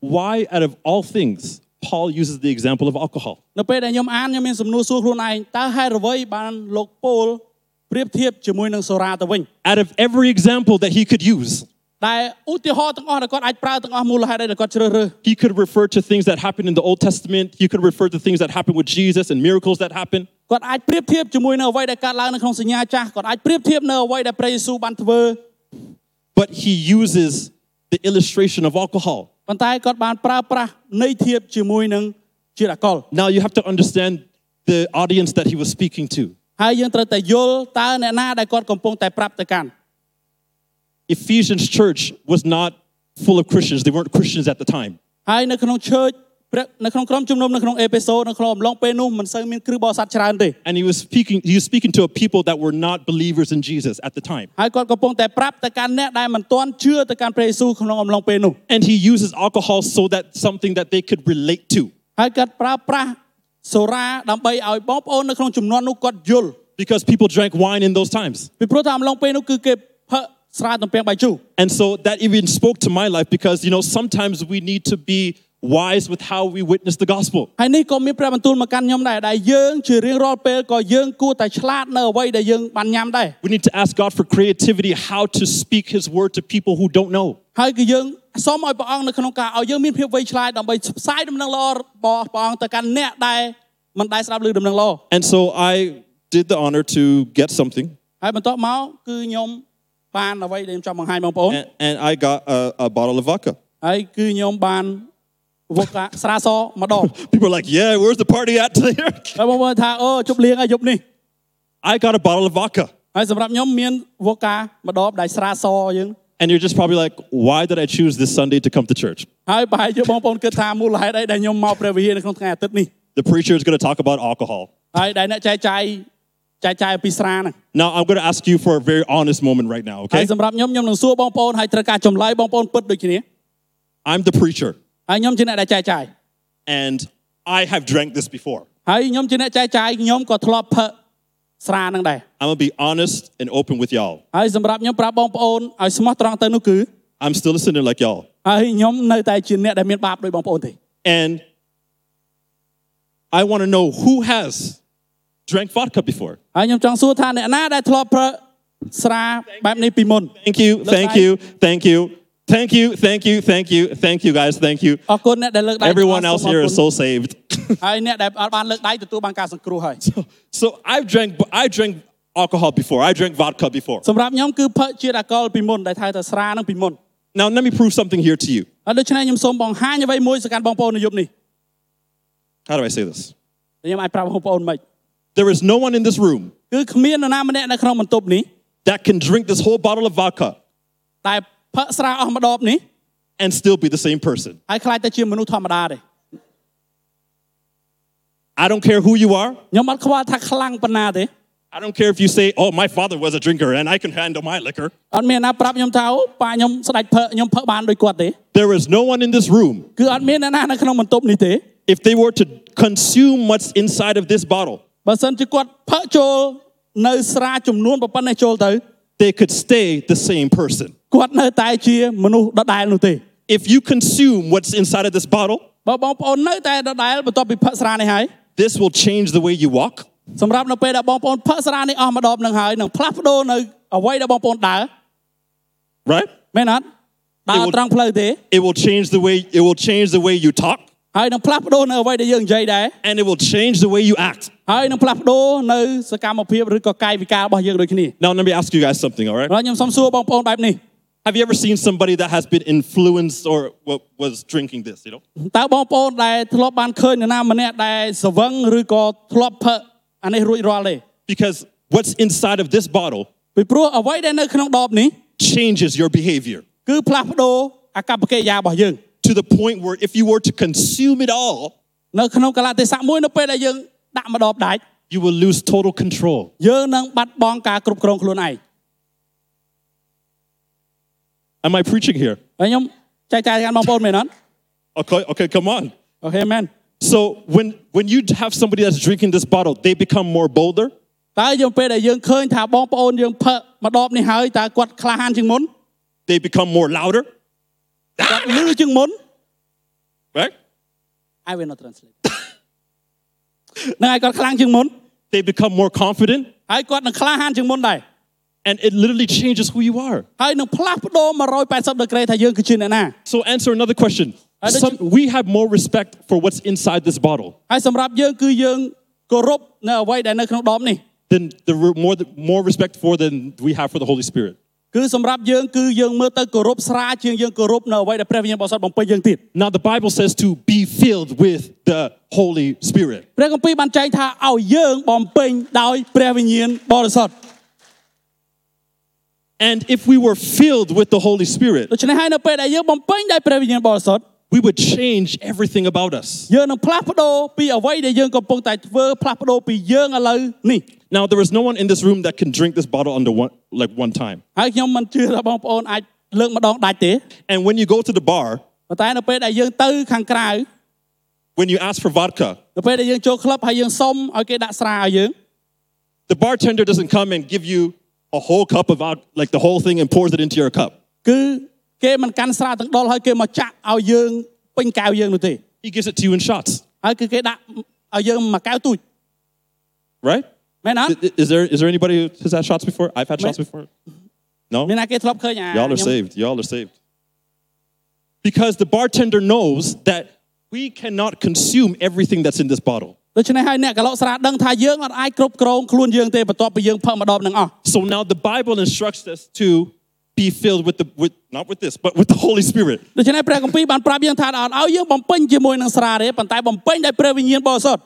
S1: why, out of all things, Paul uses the example of alcohol?
S2: នៅពេលដែលខ្ញុំអានខ្ញុំមានសំណួរសួរខ្លួនឯងតើហេតុអ្វីបានលោកពលប្រៀបធៀបជាមួយនឹងសូរ៉ាទៅវិញ
S1: Out of every example that he could use,
S2: ដែលឧទាហរណ៍ទាំងអស់ដែលគាត់អាចប្រើទាំងអស់មូលហេតុអីដែលគាត់ជ្រើសរើស
S1: he could refer to things that happened in the Old Testament, he could refer to things that happened with Jesus and miracles that happened.
S2: គាត់អាចប្រៀបធៀបជាមួយនឹងអ្វីដែលកើតឡើងនៅក្នុងសញ្ញាចាស់គាត់អាចប្រៀបធៀបនៅអ្វីដែលព្រះយេស៊ូវបានធ្វើ
S1: but he uses the illustration of alcohol.
S2: ប៉ុន្តែគាត់បានប្រើប្រាស់នៃធៀបជាមួយនឹងជាតិអាកុល
S1: Now you have to understand the audience that he was speaking to.
S2: ហើយយើងត្រូវតែយល់តើអ្នកណាដែលគាត់កំពុងតែប្រាប់ទៅកាន់
S1: Ephesians church was not full of Christians. They weren't Christians at the time.
S2: ហើយនៅក្នុង church ព្រះនៅក្នុងក្រុមជំនុំនៅក្នុងអេពីសូតនៅក្នុងអំឡុងពេលនោះមិនសូវមានគ្រឹះបរិស័ទច្រើនទេ
S3: And he was speaking, he was speaking to a people that were not believers in Jesus at the time.
S2: ហើយគាត់កំពុងតែប្រាប់ទៅកាន់អ្នកដែលមិនទាន់ជឿទៅកាន់ព្រះយេស៊ូវក្នុងអំឡុងពេលនោះ
S3: And he uses alcohol so that something that they could relate to.
S2: ហើយគាត់ប្រើប្រាស់សូរ៉ាដើម្បីឲ្យបងប្អូននៅក្នុងចំនួននោះគាត់យល់
S3: Because people drank wine in those times.
S2: ពីព្រោះថាអំឡុងពេលនោះគឺគេផឹកស្រាទំពាំងបាយជូរ
S3: And so that even spoke to my life because, you know, sometimes we need to be wise with how we witness the gospel.
S2: ហើយនេះក៏មានព្រះបន្ទូលមកកាន់ខ្ញុំដែរដែលយើងជារៀងរាល់ពេលក៏យើងគួរតែឆ្លាតនៅអ្វីដែលយើងបានញ៉ាំដែរ
S3: We need to ask God for creativity, how to speak his word to people who don't know.
S2: ហើយគឺយើងសូមឲ្យព្រះអង្គនៅក្នុងការឲ្យយើងមានភាពវៃឆ្លាតដើម្បីផ្សាយដំណឹងល្អរបស់ព្រះអង្គទៅកាន់អ្នកដែលមិនដែលស្ដាប់ឮដំណឹងល្អ
S1: And so I did the honor to get something,
S2: ហើយបន្តមកគឺខ្ញុំបានអ្វីដែលខ្ញុំចង់បង្ហាញបងប្អូន
S1: and, and I got a, a bottle of vodka.
S2: ហើយគឺខ្ញុំបានវឹកកាស្រាសម្ដង
S1: People are like, yeah, where's the party at *laughs* today?
S2: ហើយបងប្អូនថាអូជប់លៀងហើយយប់នេះ
S1: I got a bottle of vodka.
S2: ហើយសម្រាប់ខ្ញុំមានវឹកកាម្ដងដែលស្រាសយើង
S1: And you're just probably like, why did I choose this Sunday to come to church?
S2: ហើយប្រហែលជាបងប្អូនគិតថាមូលហេតុអីដែលខ្ញុំមកព្រះវិហារនៅក្នុងថ្ងៃអាទិត្យនេះ
S1: The preacher is going to talk about alcohol.
S2: ហើយដែលអ្នកចែកចាយចែកចាយអំពីស្រាហ្នឹង
S1: Now, I'm going to ask you for a very honest moment right now,
S2: ហើយ
S1: okay?
S2: សម្រាប់ខ្ញុំខ្ញុំនឹងសួរបងប្អូនហើយត្រូវការចម្លើយបងប្អូនពិតដូចគ្នា
S1: I'm the preacher,
S2: ហើយខ្ញុំជាអ្នកដែលចែកចាយ
S1: and I have drank this before.
S2: ហើយខ្ញុំជាអ្នកចែកចាយខ្ញុំក៏ធ្លាប់ផឹកស្រាហ្នឹងដែរ
S1: I'm going to be honest and open with y'all.
S2: ហើយសម្រាប់ខ្ញុំប្រាប់បងប្អូនឲ្យស្មោះត្រង់ទៅនោះគឺ
S1: I'm still a sinner like y'all.
S2: ហើយខ្ញុំនៅតែជាអ្នកដែលមានបាបដោយបងប្អូនទេ
S1: And I want to know who has drank vodka before.
S2: ហើយខ្ញុំចង់សួរថាអ្នកណាដែលធ្លាប់ប្រើស្រាបែបនេះពីមុន
S1: Thank you,
S2: Look,
S1: thank
S2: I-
S1: you, thank you, thank you, thank you, thank you, thank you, guys, thank you.
S2: អរគុណអ្នកដែលលើកដៃ
S1: Everyone else here is
S2: សូម
S1: so saved. *laughs*
S2: ហើយអ្នកដែលអត់បានលើកដៃទទួលបានការសង្គ្រោះហើយ
S1: so I've drank, I drank alcohol before. I drank vodka before.
S2: សម្រាប់ខ្ញុំគឺផឹកជាតិអាកុលពីមុនដែលថៅតែស្រាហ្នឹងពីមុន
S1: Now let me prove something here to you.
S2: ហើយដូច្នេះខ្ញុំសូមបង្ហាញអ្វីមួយសកម្មបងប្អូននៅយប់នេះ
S1: How do I say this?
S2: ខ្ញុំអាចប្រាប់បងប្អូនមិន
S1: There is no one in this room
S2: គឺគ្មាននរណាម្នាក់នៅក្នុងបន្ទប់នេះ
S1: that can drink this whole bottle of vodka
S2: ដែលផឹកស្រាអស់ម្ដបនេះ
S1: and still be the same person.
S2: ហើយខ្លាចតែជាមនុស្សធម្មតាទេ
S1: I don't care who you are.
S2: ខ្ញុំអត់ខ្វល់ថាខ្លាំងប៉ុណ្ណាទេ
S1: I don't care if you say, oh, my father was a drinker and I can handle my liquor.
S2: អត់មានអ្នកណាប្រាប់ខ្ញុំថាអូប៉ាខ្ញុំស្ដាច់ផឹកខ្ញុំផឹកបានដូចគាត់ទេ
S1: There is no one in this room.
S2: គឺអត់មានអ្នកណានៅក្នុងបន្ទប់នេះទេ
S1: If they were to consume what's inside of this bottle,
S2: បើសិនជាគាត់ផឹកចូលនៅស្រាចំនួនប៉ុណ្ណេះចូលទៅ
S1: they could stay the same person.
S2: គាត់នៅតែជាមនុស្សដដែលនោះទេ
S1: If you consume what's inside of this bottle,
S2: បើបងប្អូននៅតែដដែលបន្ទាប់ពីផឹកស្រានេះហើយ
S1: this will change the way you walk.
S2: សម្រាប់នៅពេលដែលបងប្អូនផឹកស្រានេះអស់ម្ដបនឹងហើយនឹងផ្លាស់ប្ដូរនៅអ្វីដែលបងប្អូនដើរ
S1: right?
S2: មែនអត់ដើរ
S1: would-
S2: ត្រង់ផ្លូវទេ
S1: It will change the way it will change the way you talk
S2: ហើយនឹងផ្លាស់ប្ដូរនៅអ្វីដែលយើងនិយាយដែរ
S1: and it will change the way you act.
S2: ហើយនឹងផ្លាស់ប្ដូរនៅសកម្មភាពឬក៏កាយវិការរបស់យើងដូចគ្នា
S1: Now let me ask you guys something, all right?
S2: ហើយខ្ញុំសូមសួរបងប្អូនបែបនេះ
S1: Have you ever seen somebody that has been influenced or wa- was drinking this, you know?
S2: តើបងប្អូនដែលធ្លាប់បានឃើញនរណាម្នាក់ដែលស្វឹងឬក៏ធ្លាប់ផឹកអានេះរួចរាល់ទេ
S1: Because what's inside of this bottle
S2: ពីព្រោះអ្វីដែលនៅក្នុងដបនេះ
S1: changes your behavior
S2: គឺផ្លាស់ប្ដូរអាកប្បកិរិយារបស់យើង
S1: to the point where if you were to consume it all,
S2: នៅក្នុងកលៈទេសៈមួយនៅពេលដែលយើងដាក់ម្ដបដាច់
S1: you will lose total control.
S2: យើងនឹងបាត់បង់ការគ្រប់គ្រងខ្លួនឯង
S1: Am I preaching here?
S2: ហើយខ្ញុំចែកចាយកាន់បងប្អូនមែនអត់
S1: Okay, okay, come on.
S2: អូខេមែន
S1: So when when you have somebody that's drinking this bottle, they become more bolder,
S2: តើយើងពេលដែលយើងឃើញថាបងប្អូនយើងផឹកម្ដបនេះហើយតើគាត់ក្លាហានជាងមុន
S1: they become more louder,
S2: គាត់លឺជាងមុន
S1: right?
S2: I will not translate *laughs* នឹងឲ្យគាត់ខ្លាំងជាងមុន
S1: They become more confident
S2: ហើយគាត់នឹងក្លាហានជាងមុនដែរ
S1: and it literally changes who you are.
S2: ហើយនឹងផ្លាស់ប្ដូរ180ដឺក្រេថាយើងគឺជាអ្នកណា
S1: So answer another question.
S2: I don't-
S1: Some, we have more respect for what's inside this bottle
S2: ហើយសម្រាប់យើងគឺយើងគោរពនៅអ្វីដែលនៅក្នុងដបនេះ
S1: than the re- more th- more respect for than we have for the Holy Spirit.
S2: គឺសម្រាប់យើងគឺយើងមើលទៅគោរពស្រាជាងយើងគោរពនៅអ្វីដែលព្រះវិញ្ញាណបរិសុទ្ធបំពេញយើងទៀត
S1: Now the Bible says to be filled with the Holy Spirit.
S2: ព្រះគម្ពីរបានចែងថាឲ្យយើងបំពេញដោយព្រះវិញ្ញាណបរិសុទ្ធ
S1: And if we were filled with the Holy Spirit,
S2: ដូច្នេះហើយនៅពេលដែលយើងបំពេញដោយព្រះវិញ្ញាណបរិសុទ្ធ
S1: we would change everything about us.
S2: យើងនឹងផ្លាស់ប្ដូរពីអ្វីដែលយើងកំពុងតែធ្វើផ្លាស់ប្ដូរពីយើងឥឡូវនេះ
S1: Now, there is no one in this room that can drink this bottle under one, like one time.
S2: ហើយខ្ញុំមិនជឿថាបងប្អូនអាចលើកម្ដងដាច់ទេ
S1: And when you go to the bar,
S2: ប៉ុន្តែនៅពេលដែលយើងទៅខាងក្រៅ
S1: when you ask for vodka,
S2: នៅពេលដែលយើងចូលក្លឹបហើយយើងសុំឲ្យគេដាក់ស្រាឲ្យយើង
S1: the bartender doesn't come and give you a whole cup of vodka, like the whole thing, and pours it into your cup.
S2: គឺគេមិនកាន់ស្រាទាំងដុលហើយគេមកចាក់ឲ្យយើងពេញកែវយើងនោះទេ
S1: He gives it to you in shots,
S2: ហើយគឺគេដាក់ឲ្យយើងមួយកែវទូច
S1: right?
S2: មែនអត់
S1: I- I- Is there, is there anybody who has had shots before? I've had shots before. No?
S2: មានណាគេធ្លាប់ឃើញអា
S1: Y'all are
S2: ខ្ញុំ
S1: saved. Y'all are saved. Because the bartender knows that we cannot consume everything that's in this bottle.
S2: ដូច្នេះហើយអ្នកកលោកស្រាដឹងថាយើងអត់អាចគ្រប់គ្រងខ្លួនយើងទេបន្ទាប់ពីយើងផឹកម្ដងនឹងអស់
S1: So now the Bible instructs us to be filled with the with not with this, but with the Holy Spirit.
S2: ដូច្នេះព្រះគម្ពីរបានប្រាប់យើងថាអត់ឲ្យយើងបំពេញជាមួយនឹងស្រាទេប៉ុន្តែបំពេញដោយព្រះវិញ្ញាណបរិសុទ្ធ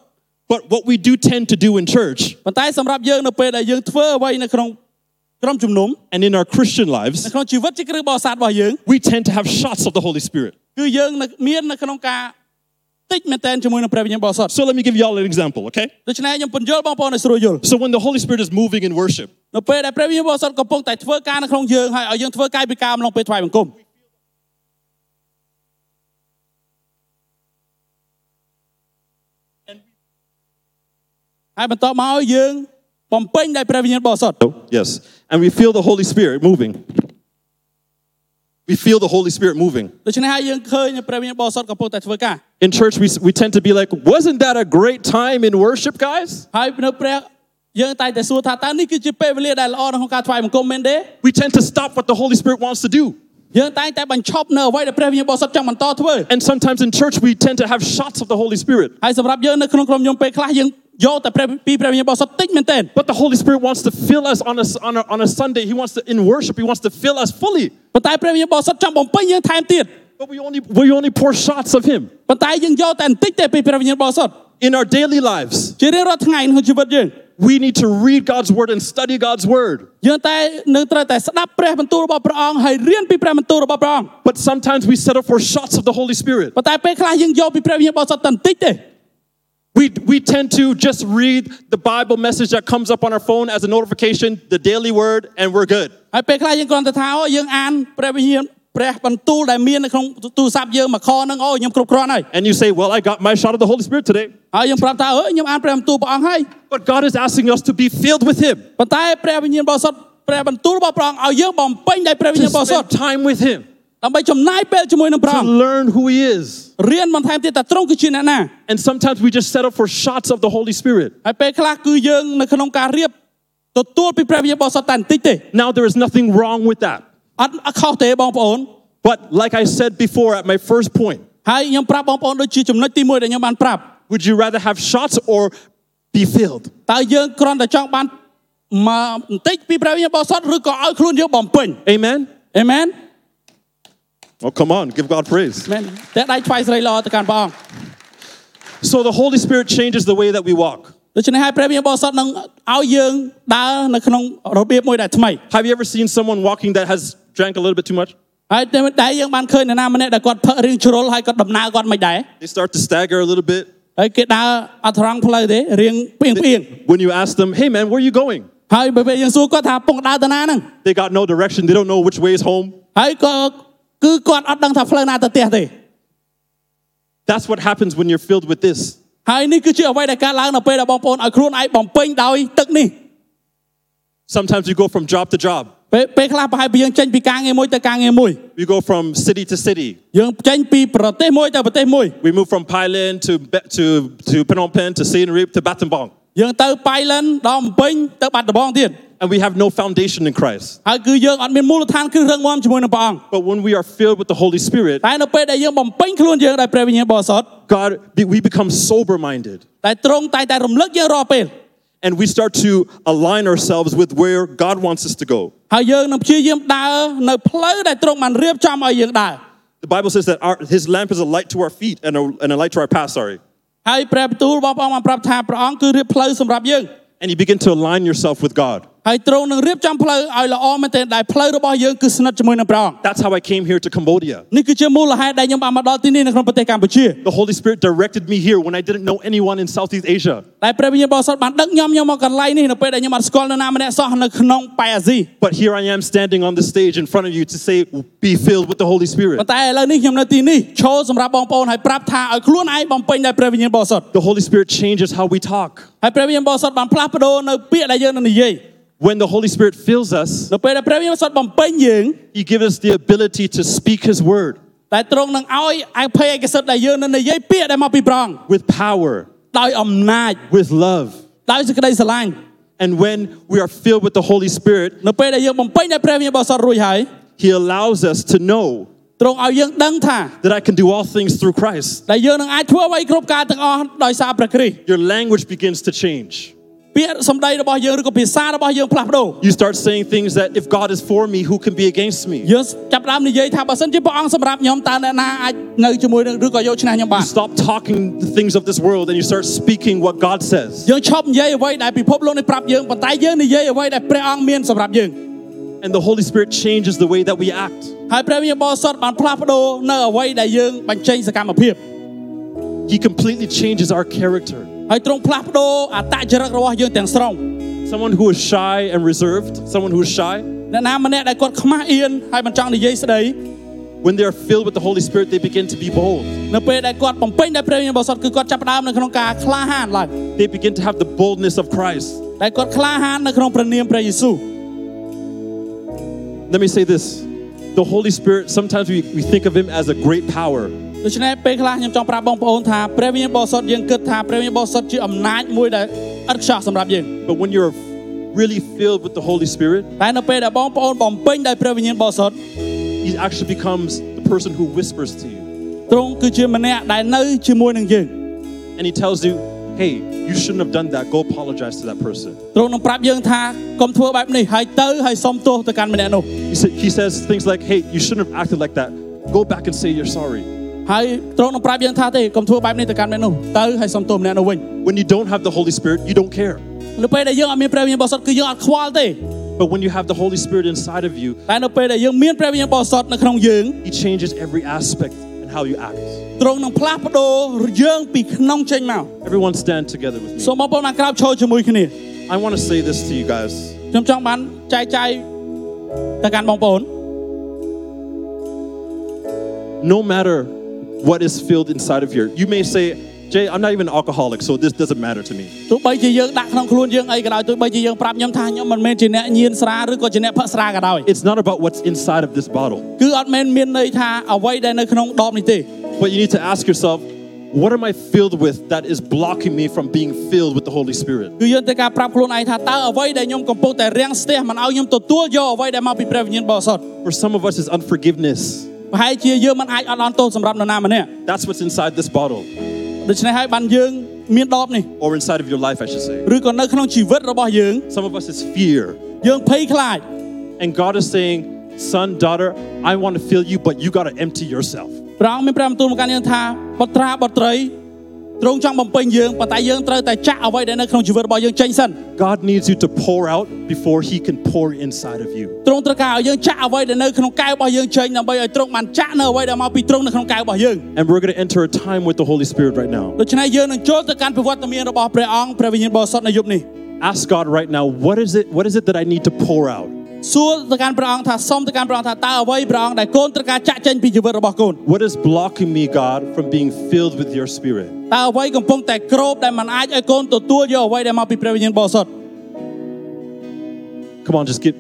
S1: But what we do tend to do in church
S2: ប៉ុន្តែសម្រាប់យើងនៅពេលដែលយើងធ្វើអ្វីនៅក្នុងក្រុមជំនុំ
S1: and in our Christian lives,
S2: ក្នុងជីវិតជាគ្រឹះបរិស័ទរបស់យើង
S1: we tend to have shots of the Holy Spirit.
S2: គឺយើងនៅមាននៅក្នុងការតិចមែនតែនជាមួយនឹងព្រះវិញ្ញាណបរិសុទ្ធ
S1: So let me give y'all an example, okay?
S2: ដូច្នេះខ្ញុំពន្យល់បងប្អូនឲ្យស្រួលយល់
S1: So when the Holy Spirit is moving in worship,
S2: នៅពេលដែលព្រះវិញ្ញាណបរិសុទ្ធកំពុងតែធ្វើការនៅក្នុងយើងហើយឲ្យយើងធ្វើកាយវិការម្លងពេលថ្វាយបង្គំ ហើយបន្តមកយើងបំពេញដោយព្រះវិញ្ញាណបរិសុទ្ធ
S1: oh, yes, and we feel the Holy Spirit moving. We feel the Holy Spirit moving.
S2: ដូច្នេះហើយយើងឃើញព្រះវិញ្ញាណបរិសុទ្ធកំពុងតែធ្វើការ
S1: In church, we, we tend to be like, wasn't that a great time in worship, guys?
S2: ហើយនៅព្រះយើងតែងតែសួរថាតើនេះគឺជាពេលវេលាដែលល្អនៅក្នុងការថ្វាយបង្គំមែនទេ
S1: We tend to stop what the Holy Spirit wants to do.
S2: យើងតែងតែបញ្ឈប់នៅអ្វីដែលព្រះវិញ្ញាណបរិសុទ្ធចង់បន្តធ្វើ
S1: And sometimes in church, we tend to have shots of the Holy Spirit.
S2: ហើយសម្រាប់យើងនៅក្នុងក្រុមខ្ញុំពេលខ្លះយើងយកតែព្រះពីព្រះវិញ្ញាណបរិសុទ្ធតិចមែនទេ
S1: But the Holy Spirit wants to fill us on a, on a, on a Sunday. He wants to, in worship, He wants to fill us fully.
S2: ប៉ុន្តែព្រះវិញ្ញាណបរិសុទ្ធចង់បំពេញយើងថែមទៀត
S1: But we only, we only pour shots of Him.
S2: ប៉ុន្តែយើងយកតែបន្តិចទេពីព្រះវិញ្ញាណបរិសុទ្ធ
S1: In our daily lives,
S2: ជារៀងរាល់ថ្ងៃក្នុងជីវិតយើង
S1: we need to read God's Word and study God's Word.
S2: យើងតែនឹងត្រូវតែស្ដាប់ព្រះបន្ទូលរបស់ព្រះអង្គហើយរៀនពីព្រះបន្ទូលរបស់ព្រះអង្គ
S1: But sometimes we settle for shots of the Holy Spirit.
S2: ប៉ុន្តែពេលខ្លះយើងយកពីព្រះវិញ្ញាណបរិសុទ្ធតែបន្តិចទេ
S1: We, we tend to just read the Bible message that comes up on our phone as a notification, the daily Word, and we're good.
S2: ហើយពេលខ្លះយើងគ្រាន់តែថាអូយើងអានព្រះវិញ្ញាណព្រះបន្ទូលដែលមាននៅក្នុងទូរស័ព្ទយើងមកខហ្នឹងអូខ្ញុំគ្រប់គ្រាន់ហើយ
S1: And you say, Well, I got my shot of the Holy Spirit today.
S2: ហើយយើងប្រាប់ថាអើខ្ញុំអានព្រះបន្ទូលព្រះអង្គហើយ
S1: But God is asking us to be filled with Him,
S2: ប៉ុន្តែព្រះវិញ្ញាណបរិសុទ្ធព្រះបន្ទូលរបស់ព្រះអង្គឲ្យយើងបំពេញដោយព្រះវិ
S1: to
S2: ញ្ញាណបរិសុទ្ធ
S1: spend time with Him,
S2: ដើម្បីចំណាយពេលជាមួយនឹងព្រះអ
S1: to
S2: ង្គ
S1: learn who He is.
S2: រៀនបន្ថែមទៀតថាទ្រង់គឺជាអ្នកណា
S1: And sometimes we just settle for shots of the Holy Spirit.
S2: ហើយពេលខ្លះគឺយើងនៅក្នុងការរៀបទទួលពីព្រះវិញ្ញាណបរិសុទ្ធតែបន្តិចទេ
S1: Now, there is nothing wrong with that.
S2: អត់អត់ខុសទេបងប្អូន
S1: But like I said before at my first point,
S2: ហើយខ្ញុំប្រាប់បងប្អូនដូចជាចំណុចទី1ដែលខ្ញុំបានប្រាប់
S1: would you rather have shots or be filled?
S2: តើយើងគ្រាន់តែចង់បានមកបន្តិចពីព្រះវិញ្ញាណបរិសុទ្ធឬក៏ឲ្យខ្លួនយើងបំពេញ
S1: Amen?
S2: អេមែន
S1: Oh, come on, give God praise.
S2: មែនតែដៃថ្វាយស្រីល្អទៅកាន់ព្រះអង្គ
S1: So the Holy Spirit changes the way that we walk.
S2: ដូច្នេះហើយព្រះវិញ្ញាណបរិសុទ្ធនឹងឲ្យយើងដើរនៅក្នុងរបៀបមួយដែលថ្មី
S1: Have you ever seen someone walking that has drank a little bit too much?
S2: ហើយតែតែយើងបានឃើញនរណាម្នាក់ដែលគាត់ផឹករឿងជ្រុលហើយគាត់ដំណើរគាត់មិនដែរ
S1: They start to stagger a little bit.
S2: ហើយគេដើរអត់ត្រង់ផ្លូវទេរៀងផ្ៀងផ្ៀង
S1: When you ask them, hey man, where are you going?
S2: ហើយបើពេលយើងសួរគាត់ថាពងដើរទៅណាហ្នឹង
S1: They got no direction. They don't know which way is home.
S2: ហើយក៏គឺគាត់អត់ដឹងថាផ្លូវណាទៅផ្ទះទេ
S1: That's what happens when you're filled with this.
S2: ហើយនេះគឺជាអ្វីដែលកើតឡើងនៅពេលដែលបងប្អូនឲ្យខ្លួនឯងបំពេញដោយទឹកនេះ
S1: Sometimes you go from job to job.
S2: ពេលពេលខ្លះប្រហែលពីយើងចេញពីការងារមួយទៅការងារមួយ
S1: You go from city to city.
S2: យើងចេញពីប្រទេសមួយទៅប្រទេសមួយ
S1: We move from Thailand to Be- to to Phnom Penh to Siem Reap to Battambang,
S2: យើងទៅប៉ៃឡិនដល់ភ្នំពេញទៅបាត់ដំបងទៀត
S1: and we have no foundation in Christ.
S2: ហើយគឺយើងអត់មានមូលដ្ឋានគ្រឹះរឹងមាំជាមួយនឹងព្រះអង្គ
S1: But when we are filled with the Holy Spirit,
S2: តែនៅពេលដែលយើងបំពេញខ្លួនយើងដោយព្រះវិញ្ញាណបរិសុទ្ធ
S1: God, we become sober-minded,
S2: តែទ្រង់តែងតែរំលឹកយើងរាល់ពេល
S1: and we start to align ourselves with where God wants us to go.
S2: ហើយយើងនឹងព្យាយាមដើរនៅផ្លូវដែលទ្រង់បានរៀបចំឲ្យយើងដើរ
S1: The Bible says that our, His lamp is a light to our feet and a, and a light to our path. Sorry,
S2: ហើយព្រះបន្ទូលរបស់ព្រះអង្គបានប្រាប់ថាព្រះអង្គគឺរៀបផ្លូវសម្រាប់យើង
S1: and you begin to align yourself with God.
S2: ហើយទ្រង់នឹងរៀបចំផ្លូវឲ្យល្អមែនទែនដែលផ្លូវរបស់យើងគឺស្និទ្ធជាមួយនឹងព្រះអង្គ
S1: That's how I came here to Cambodia.
S2: នេះគឺជាមូលហេតុដែលខ្ញុំបានមកដល់ទីនេះនៅក្នុងប្រទេសកម្ពុជា
S1: The Holy Spirit directed me here when I didn't know anyone in Southeast Asia.
S2: ដែលព្រះវិញ្ញាណបរិសុទ្ធបានដឹកខ្ញុំខ្ញុំមកកន្លែងនេះនៅពេលដែលខ្ញុំអត់ស្គាល់នរណាម្នាក់សោះនៅក្នុងប៉ែអាស៊ី
S1: But here I am standing on the stage in front of you to say, be filled with the Holy
S2: ប៉ុ
S1: Spirit.
S2: ន្តែឥឡូវនេះខ្ញុំនៅទីនេះឈរសម្រាប់បងប្អូនហើយប្រាប់ថាឲ្យខ្លួនឯងបំពេញដោយព្រះវិញ្ញាណបរិសុទ្ធ
S1: The Holy Spirit changes how we talk.
S2: ហើយព្រះវិញ្ញាណបរិសុទ្ធបានផ្លាស់ប្ដូរនៅពាក្យដែលយើងនឹងនិយាយ
S1: When the Holy Spirit fills us,
S2: នៅពេលដែលព្រះវិញ្ញាណបរិសុទ្ធបំពេញយើង
S1: He gives us the ability to speak His word
S2: តែទ្រង់នឹងឲ្យអភ័យឯកសិទ្ធដែលយើងនឹងនិយាយពាក្យដែលមកពីព្រះអង្គ
S1: with power,
S2: ដោយអំណាច
S1: with love.
S2: ដោយសេចក្តីស្រឡាញ់
S1: And when we are filled with the Holy Spirit,
S2: នៅពេលដែលយើងបំពេញដោយព្រះវិញ្ញាណបរិសុទ្ធរួចហើយ
S1: He allows us to know
S2: ទ្រង់ឲ្យយើងដឹងថា
S1: that I can do all things through Christ.
S2: ដែលយើងនឹងអាចធ្វើអ្វីគ្រប់ការទាំងអស់ដោយសារព្រះគ្រីស្ទ
S1: Your language begins to change.
S2: ពាក្យសម្ដីរបស់យើងឬក៏ភាសារបស់យើងផ្លាស់ប្ដូរ
S1: You start saying things that if God is for me, who can be against me?
S2: យើងចាប់ផ្ដើមនិយាយថាបើសិនជាព្រះអង្គសម្រាប់ខ្ញុំតើអ្នកណាអាចនៅជាមួយនឹងឬក៏យកឈ្នះខ្ញុំបាន
S1: Stop talking the things of this world and you start speaking what God says.
S2: យើងឈប់និយាយអ្វីដែលពិភពលោកនេះប្រាប់យើងប៉ុន្តែយើងនិយាយអ្វីដែលព្រះអង្គមានសម្រាប់យើង
S1: And the Holy Spirit changes the way that we act.
S2: ហើយព្រះវិញ្ញាណបរិសុទ្ធបានផ្លាស់ប្ដូរនៅអ្វីដែលយើងបញ្ចេញសកម្មភាព
S1: He completely changes our character.
S2: ហើយទ្រង់ផ្លាស់ប្ដូរអត្តចរិតរបស់យើងទាំងស្រុង
S1: Someone who is shy and reserved, someone who is shy,
S2: អ្នកណាម្នាក់ដែលគាត់ខ្មាស់អៀនហើយមិនចង់និយាយស្ដី
S1: when they are filled with the Holy Spirit, they begin to be bold.
S2: នៅពេលដែលគាត់បំពេញដោយព្រះវិញ្ញាណបរិសុទ្ធគឺគាត់ចាប់ផ្ដើមនៅក្នុងការក្លាហានឡើង
S1: They begin to have the boldness of Christ.
S2: ដែលគាត់ក្លាហាននៅក្នុងព្រះនាមព្រះយេស៊ូវ
S1: Let me say this the Holy Spirit, sometimes we, we think of Him as a great power,
S2: ដូច្នេះពេលខ្លះខ្ញុំចង់ប្រាប់បងប្អូនថាព្រះវិញ្ញាណបរិសុទ្ធយើងគិតថាព្រះវិញ្ញាណបរិសុទ្ធជាអំណាចមួយដែលឥតខ្ចោះសម្រាប់យើង
S1: but when you're really filled with the Holy Spirit,
S2: តែនៅពេលដែលបងប្អូនបំពេញដោយព្រះវិញ្ញាណបរិសុទ្ធ
S1: He actually becomes the person who whispers to you
S2: ទ្រង់គឺជាម្នាក់ដែលនៅជាមួយនឹងយើង
S1: and He tells you, hey, you shouldn't have done that. Go apologize to that person.
S2: ទ្រង់នឹងប្រាប់យើងថាកុំធ្វើបែបនេះហើយទៅហើយសុំទោសទៅកាន់ម្នាក់នោះ
S1: He, sa- he says things like, hey, you shouldn't have acted like that. Go back and say you're sorry.
S2: ហើយទ្រង់នឹងប្រាប់យើងថាទេកុំធ្វើបែបនេះទៅកាន់ម្នាក់នោះទៅហើយសុំទោសម្នាក់នោះវិញ
S1: When you don't have the Holy Spirit, you don't care.
S2: នៅពេលដែលយើងអត់មានព្រះវិញ្ញាណបរិសុទ្ធគឺយើងអត់ខ្វល់ទេ
S1: But when you have the Holy Spirit inside of you,
S2: តែនៅពេលដែលយើងមានព្រះវិញ្ញាណបរិសុទ្ធនៅក្នុងយើង
S1: He changes every aspect and how you act.
S2: ទ្រង់នឹងផ្លាស់ប្ដូរយើងពីក្នុងចេញមក
S1: Everyone stand together with me.
S2: សូមបងប្អូនអាក្រោបឈរជាមួយគ្នា
S1: I want to say this to you guys.
S2: ខ្ញុំចង់បានចែកចាយទៅកាន់បងប្អូន
S1: No matter what is filled inside of you, you may say, Jay, I'm not even an alcoholic, so this doesn't matter to me.
S2: ទោះបីជាយើងដាក់ក្នុងខ្លួនយើងអីក៏ដោយទោះបីជាយើងប្រាប់ខ្ញុំថាខ្ញុំមិនមែនជាអ្នកញៀនស្រាឬក៏ជាអ្នកផឹកស្រាក៏ដោយ
S1: It's not about what's inside of this bottle.
S2: គឺអត់មែនមានន័យថាអ្វីដែលនៅក្នុងដបនេះទេ
S1: But you need to ask yourself, what am I filled with that is blocking me from being filled with the Holy Spirit?
S2: គឺយើងត្រូវការប្រាប់ខ្លួនឯងថាតើអ្វីដែលខ្ញុំកំពុងតែរាំងស្ទះមិនឲ្យខ្ញុំទទួលយកអ្វីដែលមកពីព្រះវិញ្ញាណបរិសុទ្ធ
S1: For some of us, it's unforgiveness.
S2: ប្រហែលជាយើងមិនអាចអត់អន់ទោសសម្រាប់នរណាម្នាក់
S1: That's what's inside this bottle,
S2: ដូច្នេះហើយបានយើងមានដបនេះ
S1: or inside of your life, I should say.
S2: ឬក៏នៅក្នុងជីវិតរបស់យើង
S1: Some of us, it's fear.
S2: យើងភ័យខ្លាច
S1: And God is saying, son, daughter, I want to fill you, but you got to empty yourself.
S2: ព្រះអង្គមានព្រះបន្ទូលមកកាន់យើងថាបត្រាបត្រីទ្រង់ចង់បំពេញយើងប៉ុន្តែយើងត្រូវតែចាក់អ្វីដែលនៅក្នុងជីវិតរបស់យើងចេញសិន
S1: God needs you to pour out before He can pour inside of you.
S2: ទ្រង់ត្រូវការឲ្យយើងចាក់អ្វីដែលនៅក្នុងកាយរបស់យើងចេញដើម្បីឲ្យទ្រង់បានចាក់នៅអ្វីដែលមកពីទ្រង់នៅក្នុងកាយរបស់យើង
S1: And we're going to enter a time with the Holy Spirit right now.
S2: ដូច្នេះយើងនឹងចូលទៅកាន់ប្រវត្តិមានរបស់ព្រះអង្គព្រះវិញ្ញាណបរិសុទ្ធនៅយប់នេះ
S1: Ask God right now, what is it? What is it that I need to pour out?
S2: សួរទៅកាន់ព្រះអង្គថាសូមទៅកាន់ព្រះអង្គថាតើអ្វីព្រះអង្គដែលកូនត្រូវការចាក់ចេញពីជីវិតរបស់កូន
S1: What is blocking me, God, from being filled with Your Spirit?
S2: តើអ្វីកំពុងតែក្របដែលមិនអាចឲ្យកូនទទួលយកអ្វីដែលមកពីព្រះវិញ្ញាណបរិសុទ្ធ
S1: Come on, just give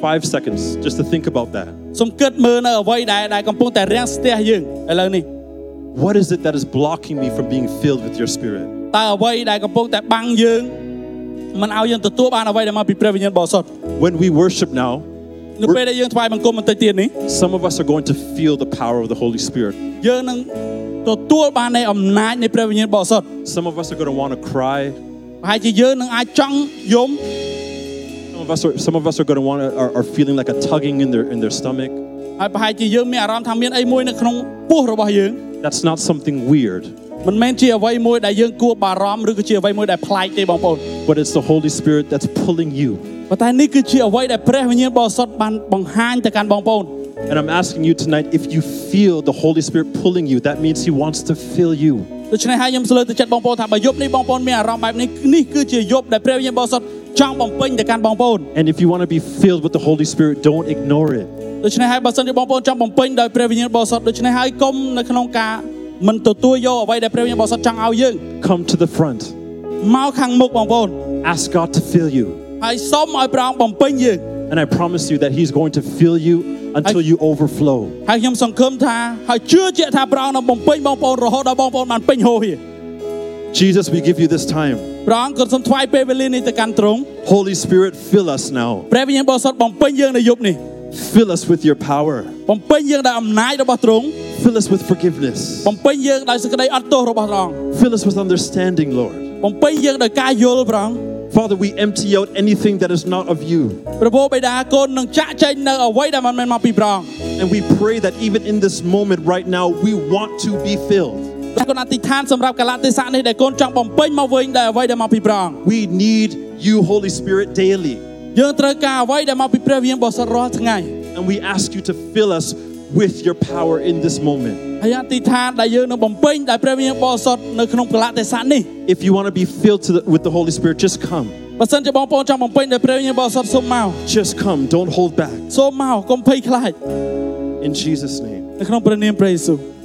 S1: five seconds just to think about that.
S2: សូមគិតមើលនៅអ្វីដែលដែលកំពុងតែរាំងស្ទះយើងឥឡូវនេះ
S1: What is it that is blocking me from being filled with Your Spirit?
S2: តើអ្វីដែលកំពុងតែបាំងយើងមិនឲ្យយើងទទួលបានអ្វីដែលមកពីព្រះវិញ្ញាណបរិសុទ្ធ
S1: When we worship now,
S2: នៅពេលដែលយើងថ្វាយបង្គំបន្តិចទៀតនេះ
S1: some of us are going to feel the power of the Holy Spirit.
S2: យើងនឹងទទួលបាននៃអំណាចនៃព្រះវិញ្ញាណបរិសុទ្ធ
S1: Some of us are going to want to cry.
S2: ប្រហែលជាយើងនឹងអាចចង់យំ
S1: Some of us are, some of us are going to want to, are, are feeling like a tugging in their, in their stomach.
S2: ហើយប្រហែលជាយើងមានអារម្មណ៍ថាមានអីមួយនៅក្នុងពោះរបស់យើង
S1: That's not something weird.
S2: មិនមែនជាអ្វីមួយដែលយើងគួរបារម្ភឬក៏ជាអ្វីមួយដែលប្លែកទេបងប្អូន
S1: but it's the Holy Spirit that's pulling you.
S2: ប៉ុន្តែនេះគឺជាអ្វីដែលព្រះវិញ្ញាណបរិសុទ្ធបានបង្ហាញទៅកាន់បងប្អូន
S1: And I'm asking you tonight if you feel the Holy Spirit pulling you, that means He wants to fill you.
S2: ដូច្នេះហើយខ្ញុំស្លើទៅចិត្តបងប្អូនថាបើយប់នេះបងប្អូនមានអារម្មណ៍បែបនេះនេះគឺជាយប់ដែលព្រះវិញ្ញាណបរិសុទ្ធចង់បំពេញទៅកាន់បងប្អូន
S1: And if you want to be filled with the Holy Spirit, don't ignore it.
S2: ដូច្នេះហើយបើសិនជាបងប្អូនចង់បំពេញដោយព្រះវិញ្ញាណបរិសុទ្ធដូច្នេះហើយកុំនៅក្នុងការមិនទទួលយកអ្វីដែលព្រះវិញ្ញាណបរិសុទ្ធចង់ឲ្យយើង
S1: Come to the front.
S2: មកខាងមុខបងប្អូន
S1: Ask God to fill you.
S2: ហើយសូមឲ្យព្រះអង្គបំពេញយើង
S1: And I promise you that He's going to fill you until
S2: I-
S1: you overflow.
S2: ហើយខ្ញុំសង្ឃឹមថាហើយជឿជាក់ថាព្រះអង្គនឹងបំពេញបងប្អូនរហូតដល់បងប្អូនបានពេញហូរហៀរ
S1: Jesus, we give you this time.
S2: ព្រះអង្គក៏សូមថ្វាយពេលវេលានេះទៅកាន់ទ្រង់
S1: Holy Spirit, fill us now.
S2: ព្រះវិញ្ញាណបរិសុទ្ធបំពេញយើងនៅយប់នេះ
S1: Fill us with your power.
S2: បំពេញយើងដោយអំណាចរបស់ទ្រង់
S1: Fill us with forgiveness.
S2: បំពេញយើងដោយសេចក្តីអត់ទោសរបស់ព្រះអង្គ
S1: Fill us with understanding, Lord.
S2: បំពេញយើងដោយការយល់ព្រះអង្គ
S1: Father, we empty out anything that is not of you.
S2: ព្រះពោបិតាកូននឹងចាក់ចែងនៅអ្វីដែលមិនមែនមកពីព្រះអង្គ
S1: And we pray that even in this moment right now, we want to be filled.
S2: តែកូនអធិដ្ឋានសម្រាប់កាលៈទេសៈនេះដែលកូនចង់បំពេញមកវិញដែលអ្វីដែលមកពីព្រះអង្គ
S1: We need you, Holy Spirit, daily.
S2: យើងត្រូវការអ្វីដែលមកពីព្រះវិញ្ញាណបរិសុទ្ធរាល់ថ្ងៃ
S1: And we ask you to fill us with your power in this moment.
S2: ហើយអធិដ្ឋានដែលយើងនឹងបំពេញដោយព្រះវិញ្ញាណបរិសុទ្ធនៅក្នុងកាលៈទេសៈនេះ
S1: If you want to be filled to the, with the Holy Spirit, just come.
S2: បើសិនជាបងប្អូនចង់បំពេញដោយព្រះវិញ្ញាណបរិសុទ្ធសូមមក
S1: Just come. Don't hold back.
S2: សូមមកកុំភ័យខ្លាច
S1: In Jesus' name.
S2: នៅក្នុងព្រះនាមព្រះយេស៊ូវ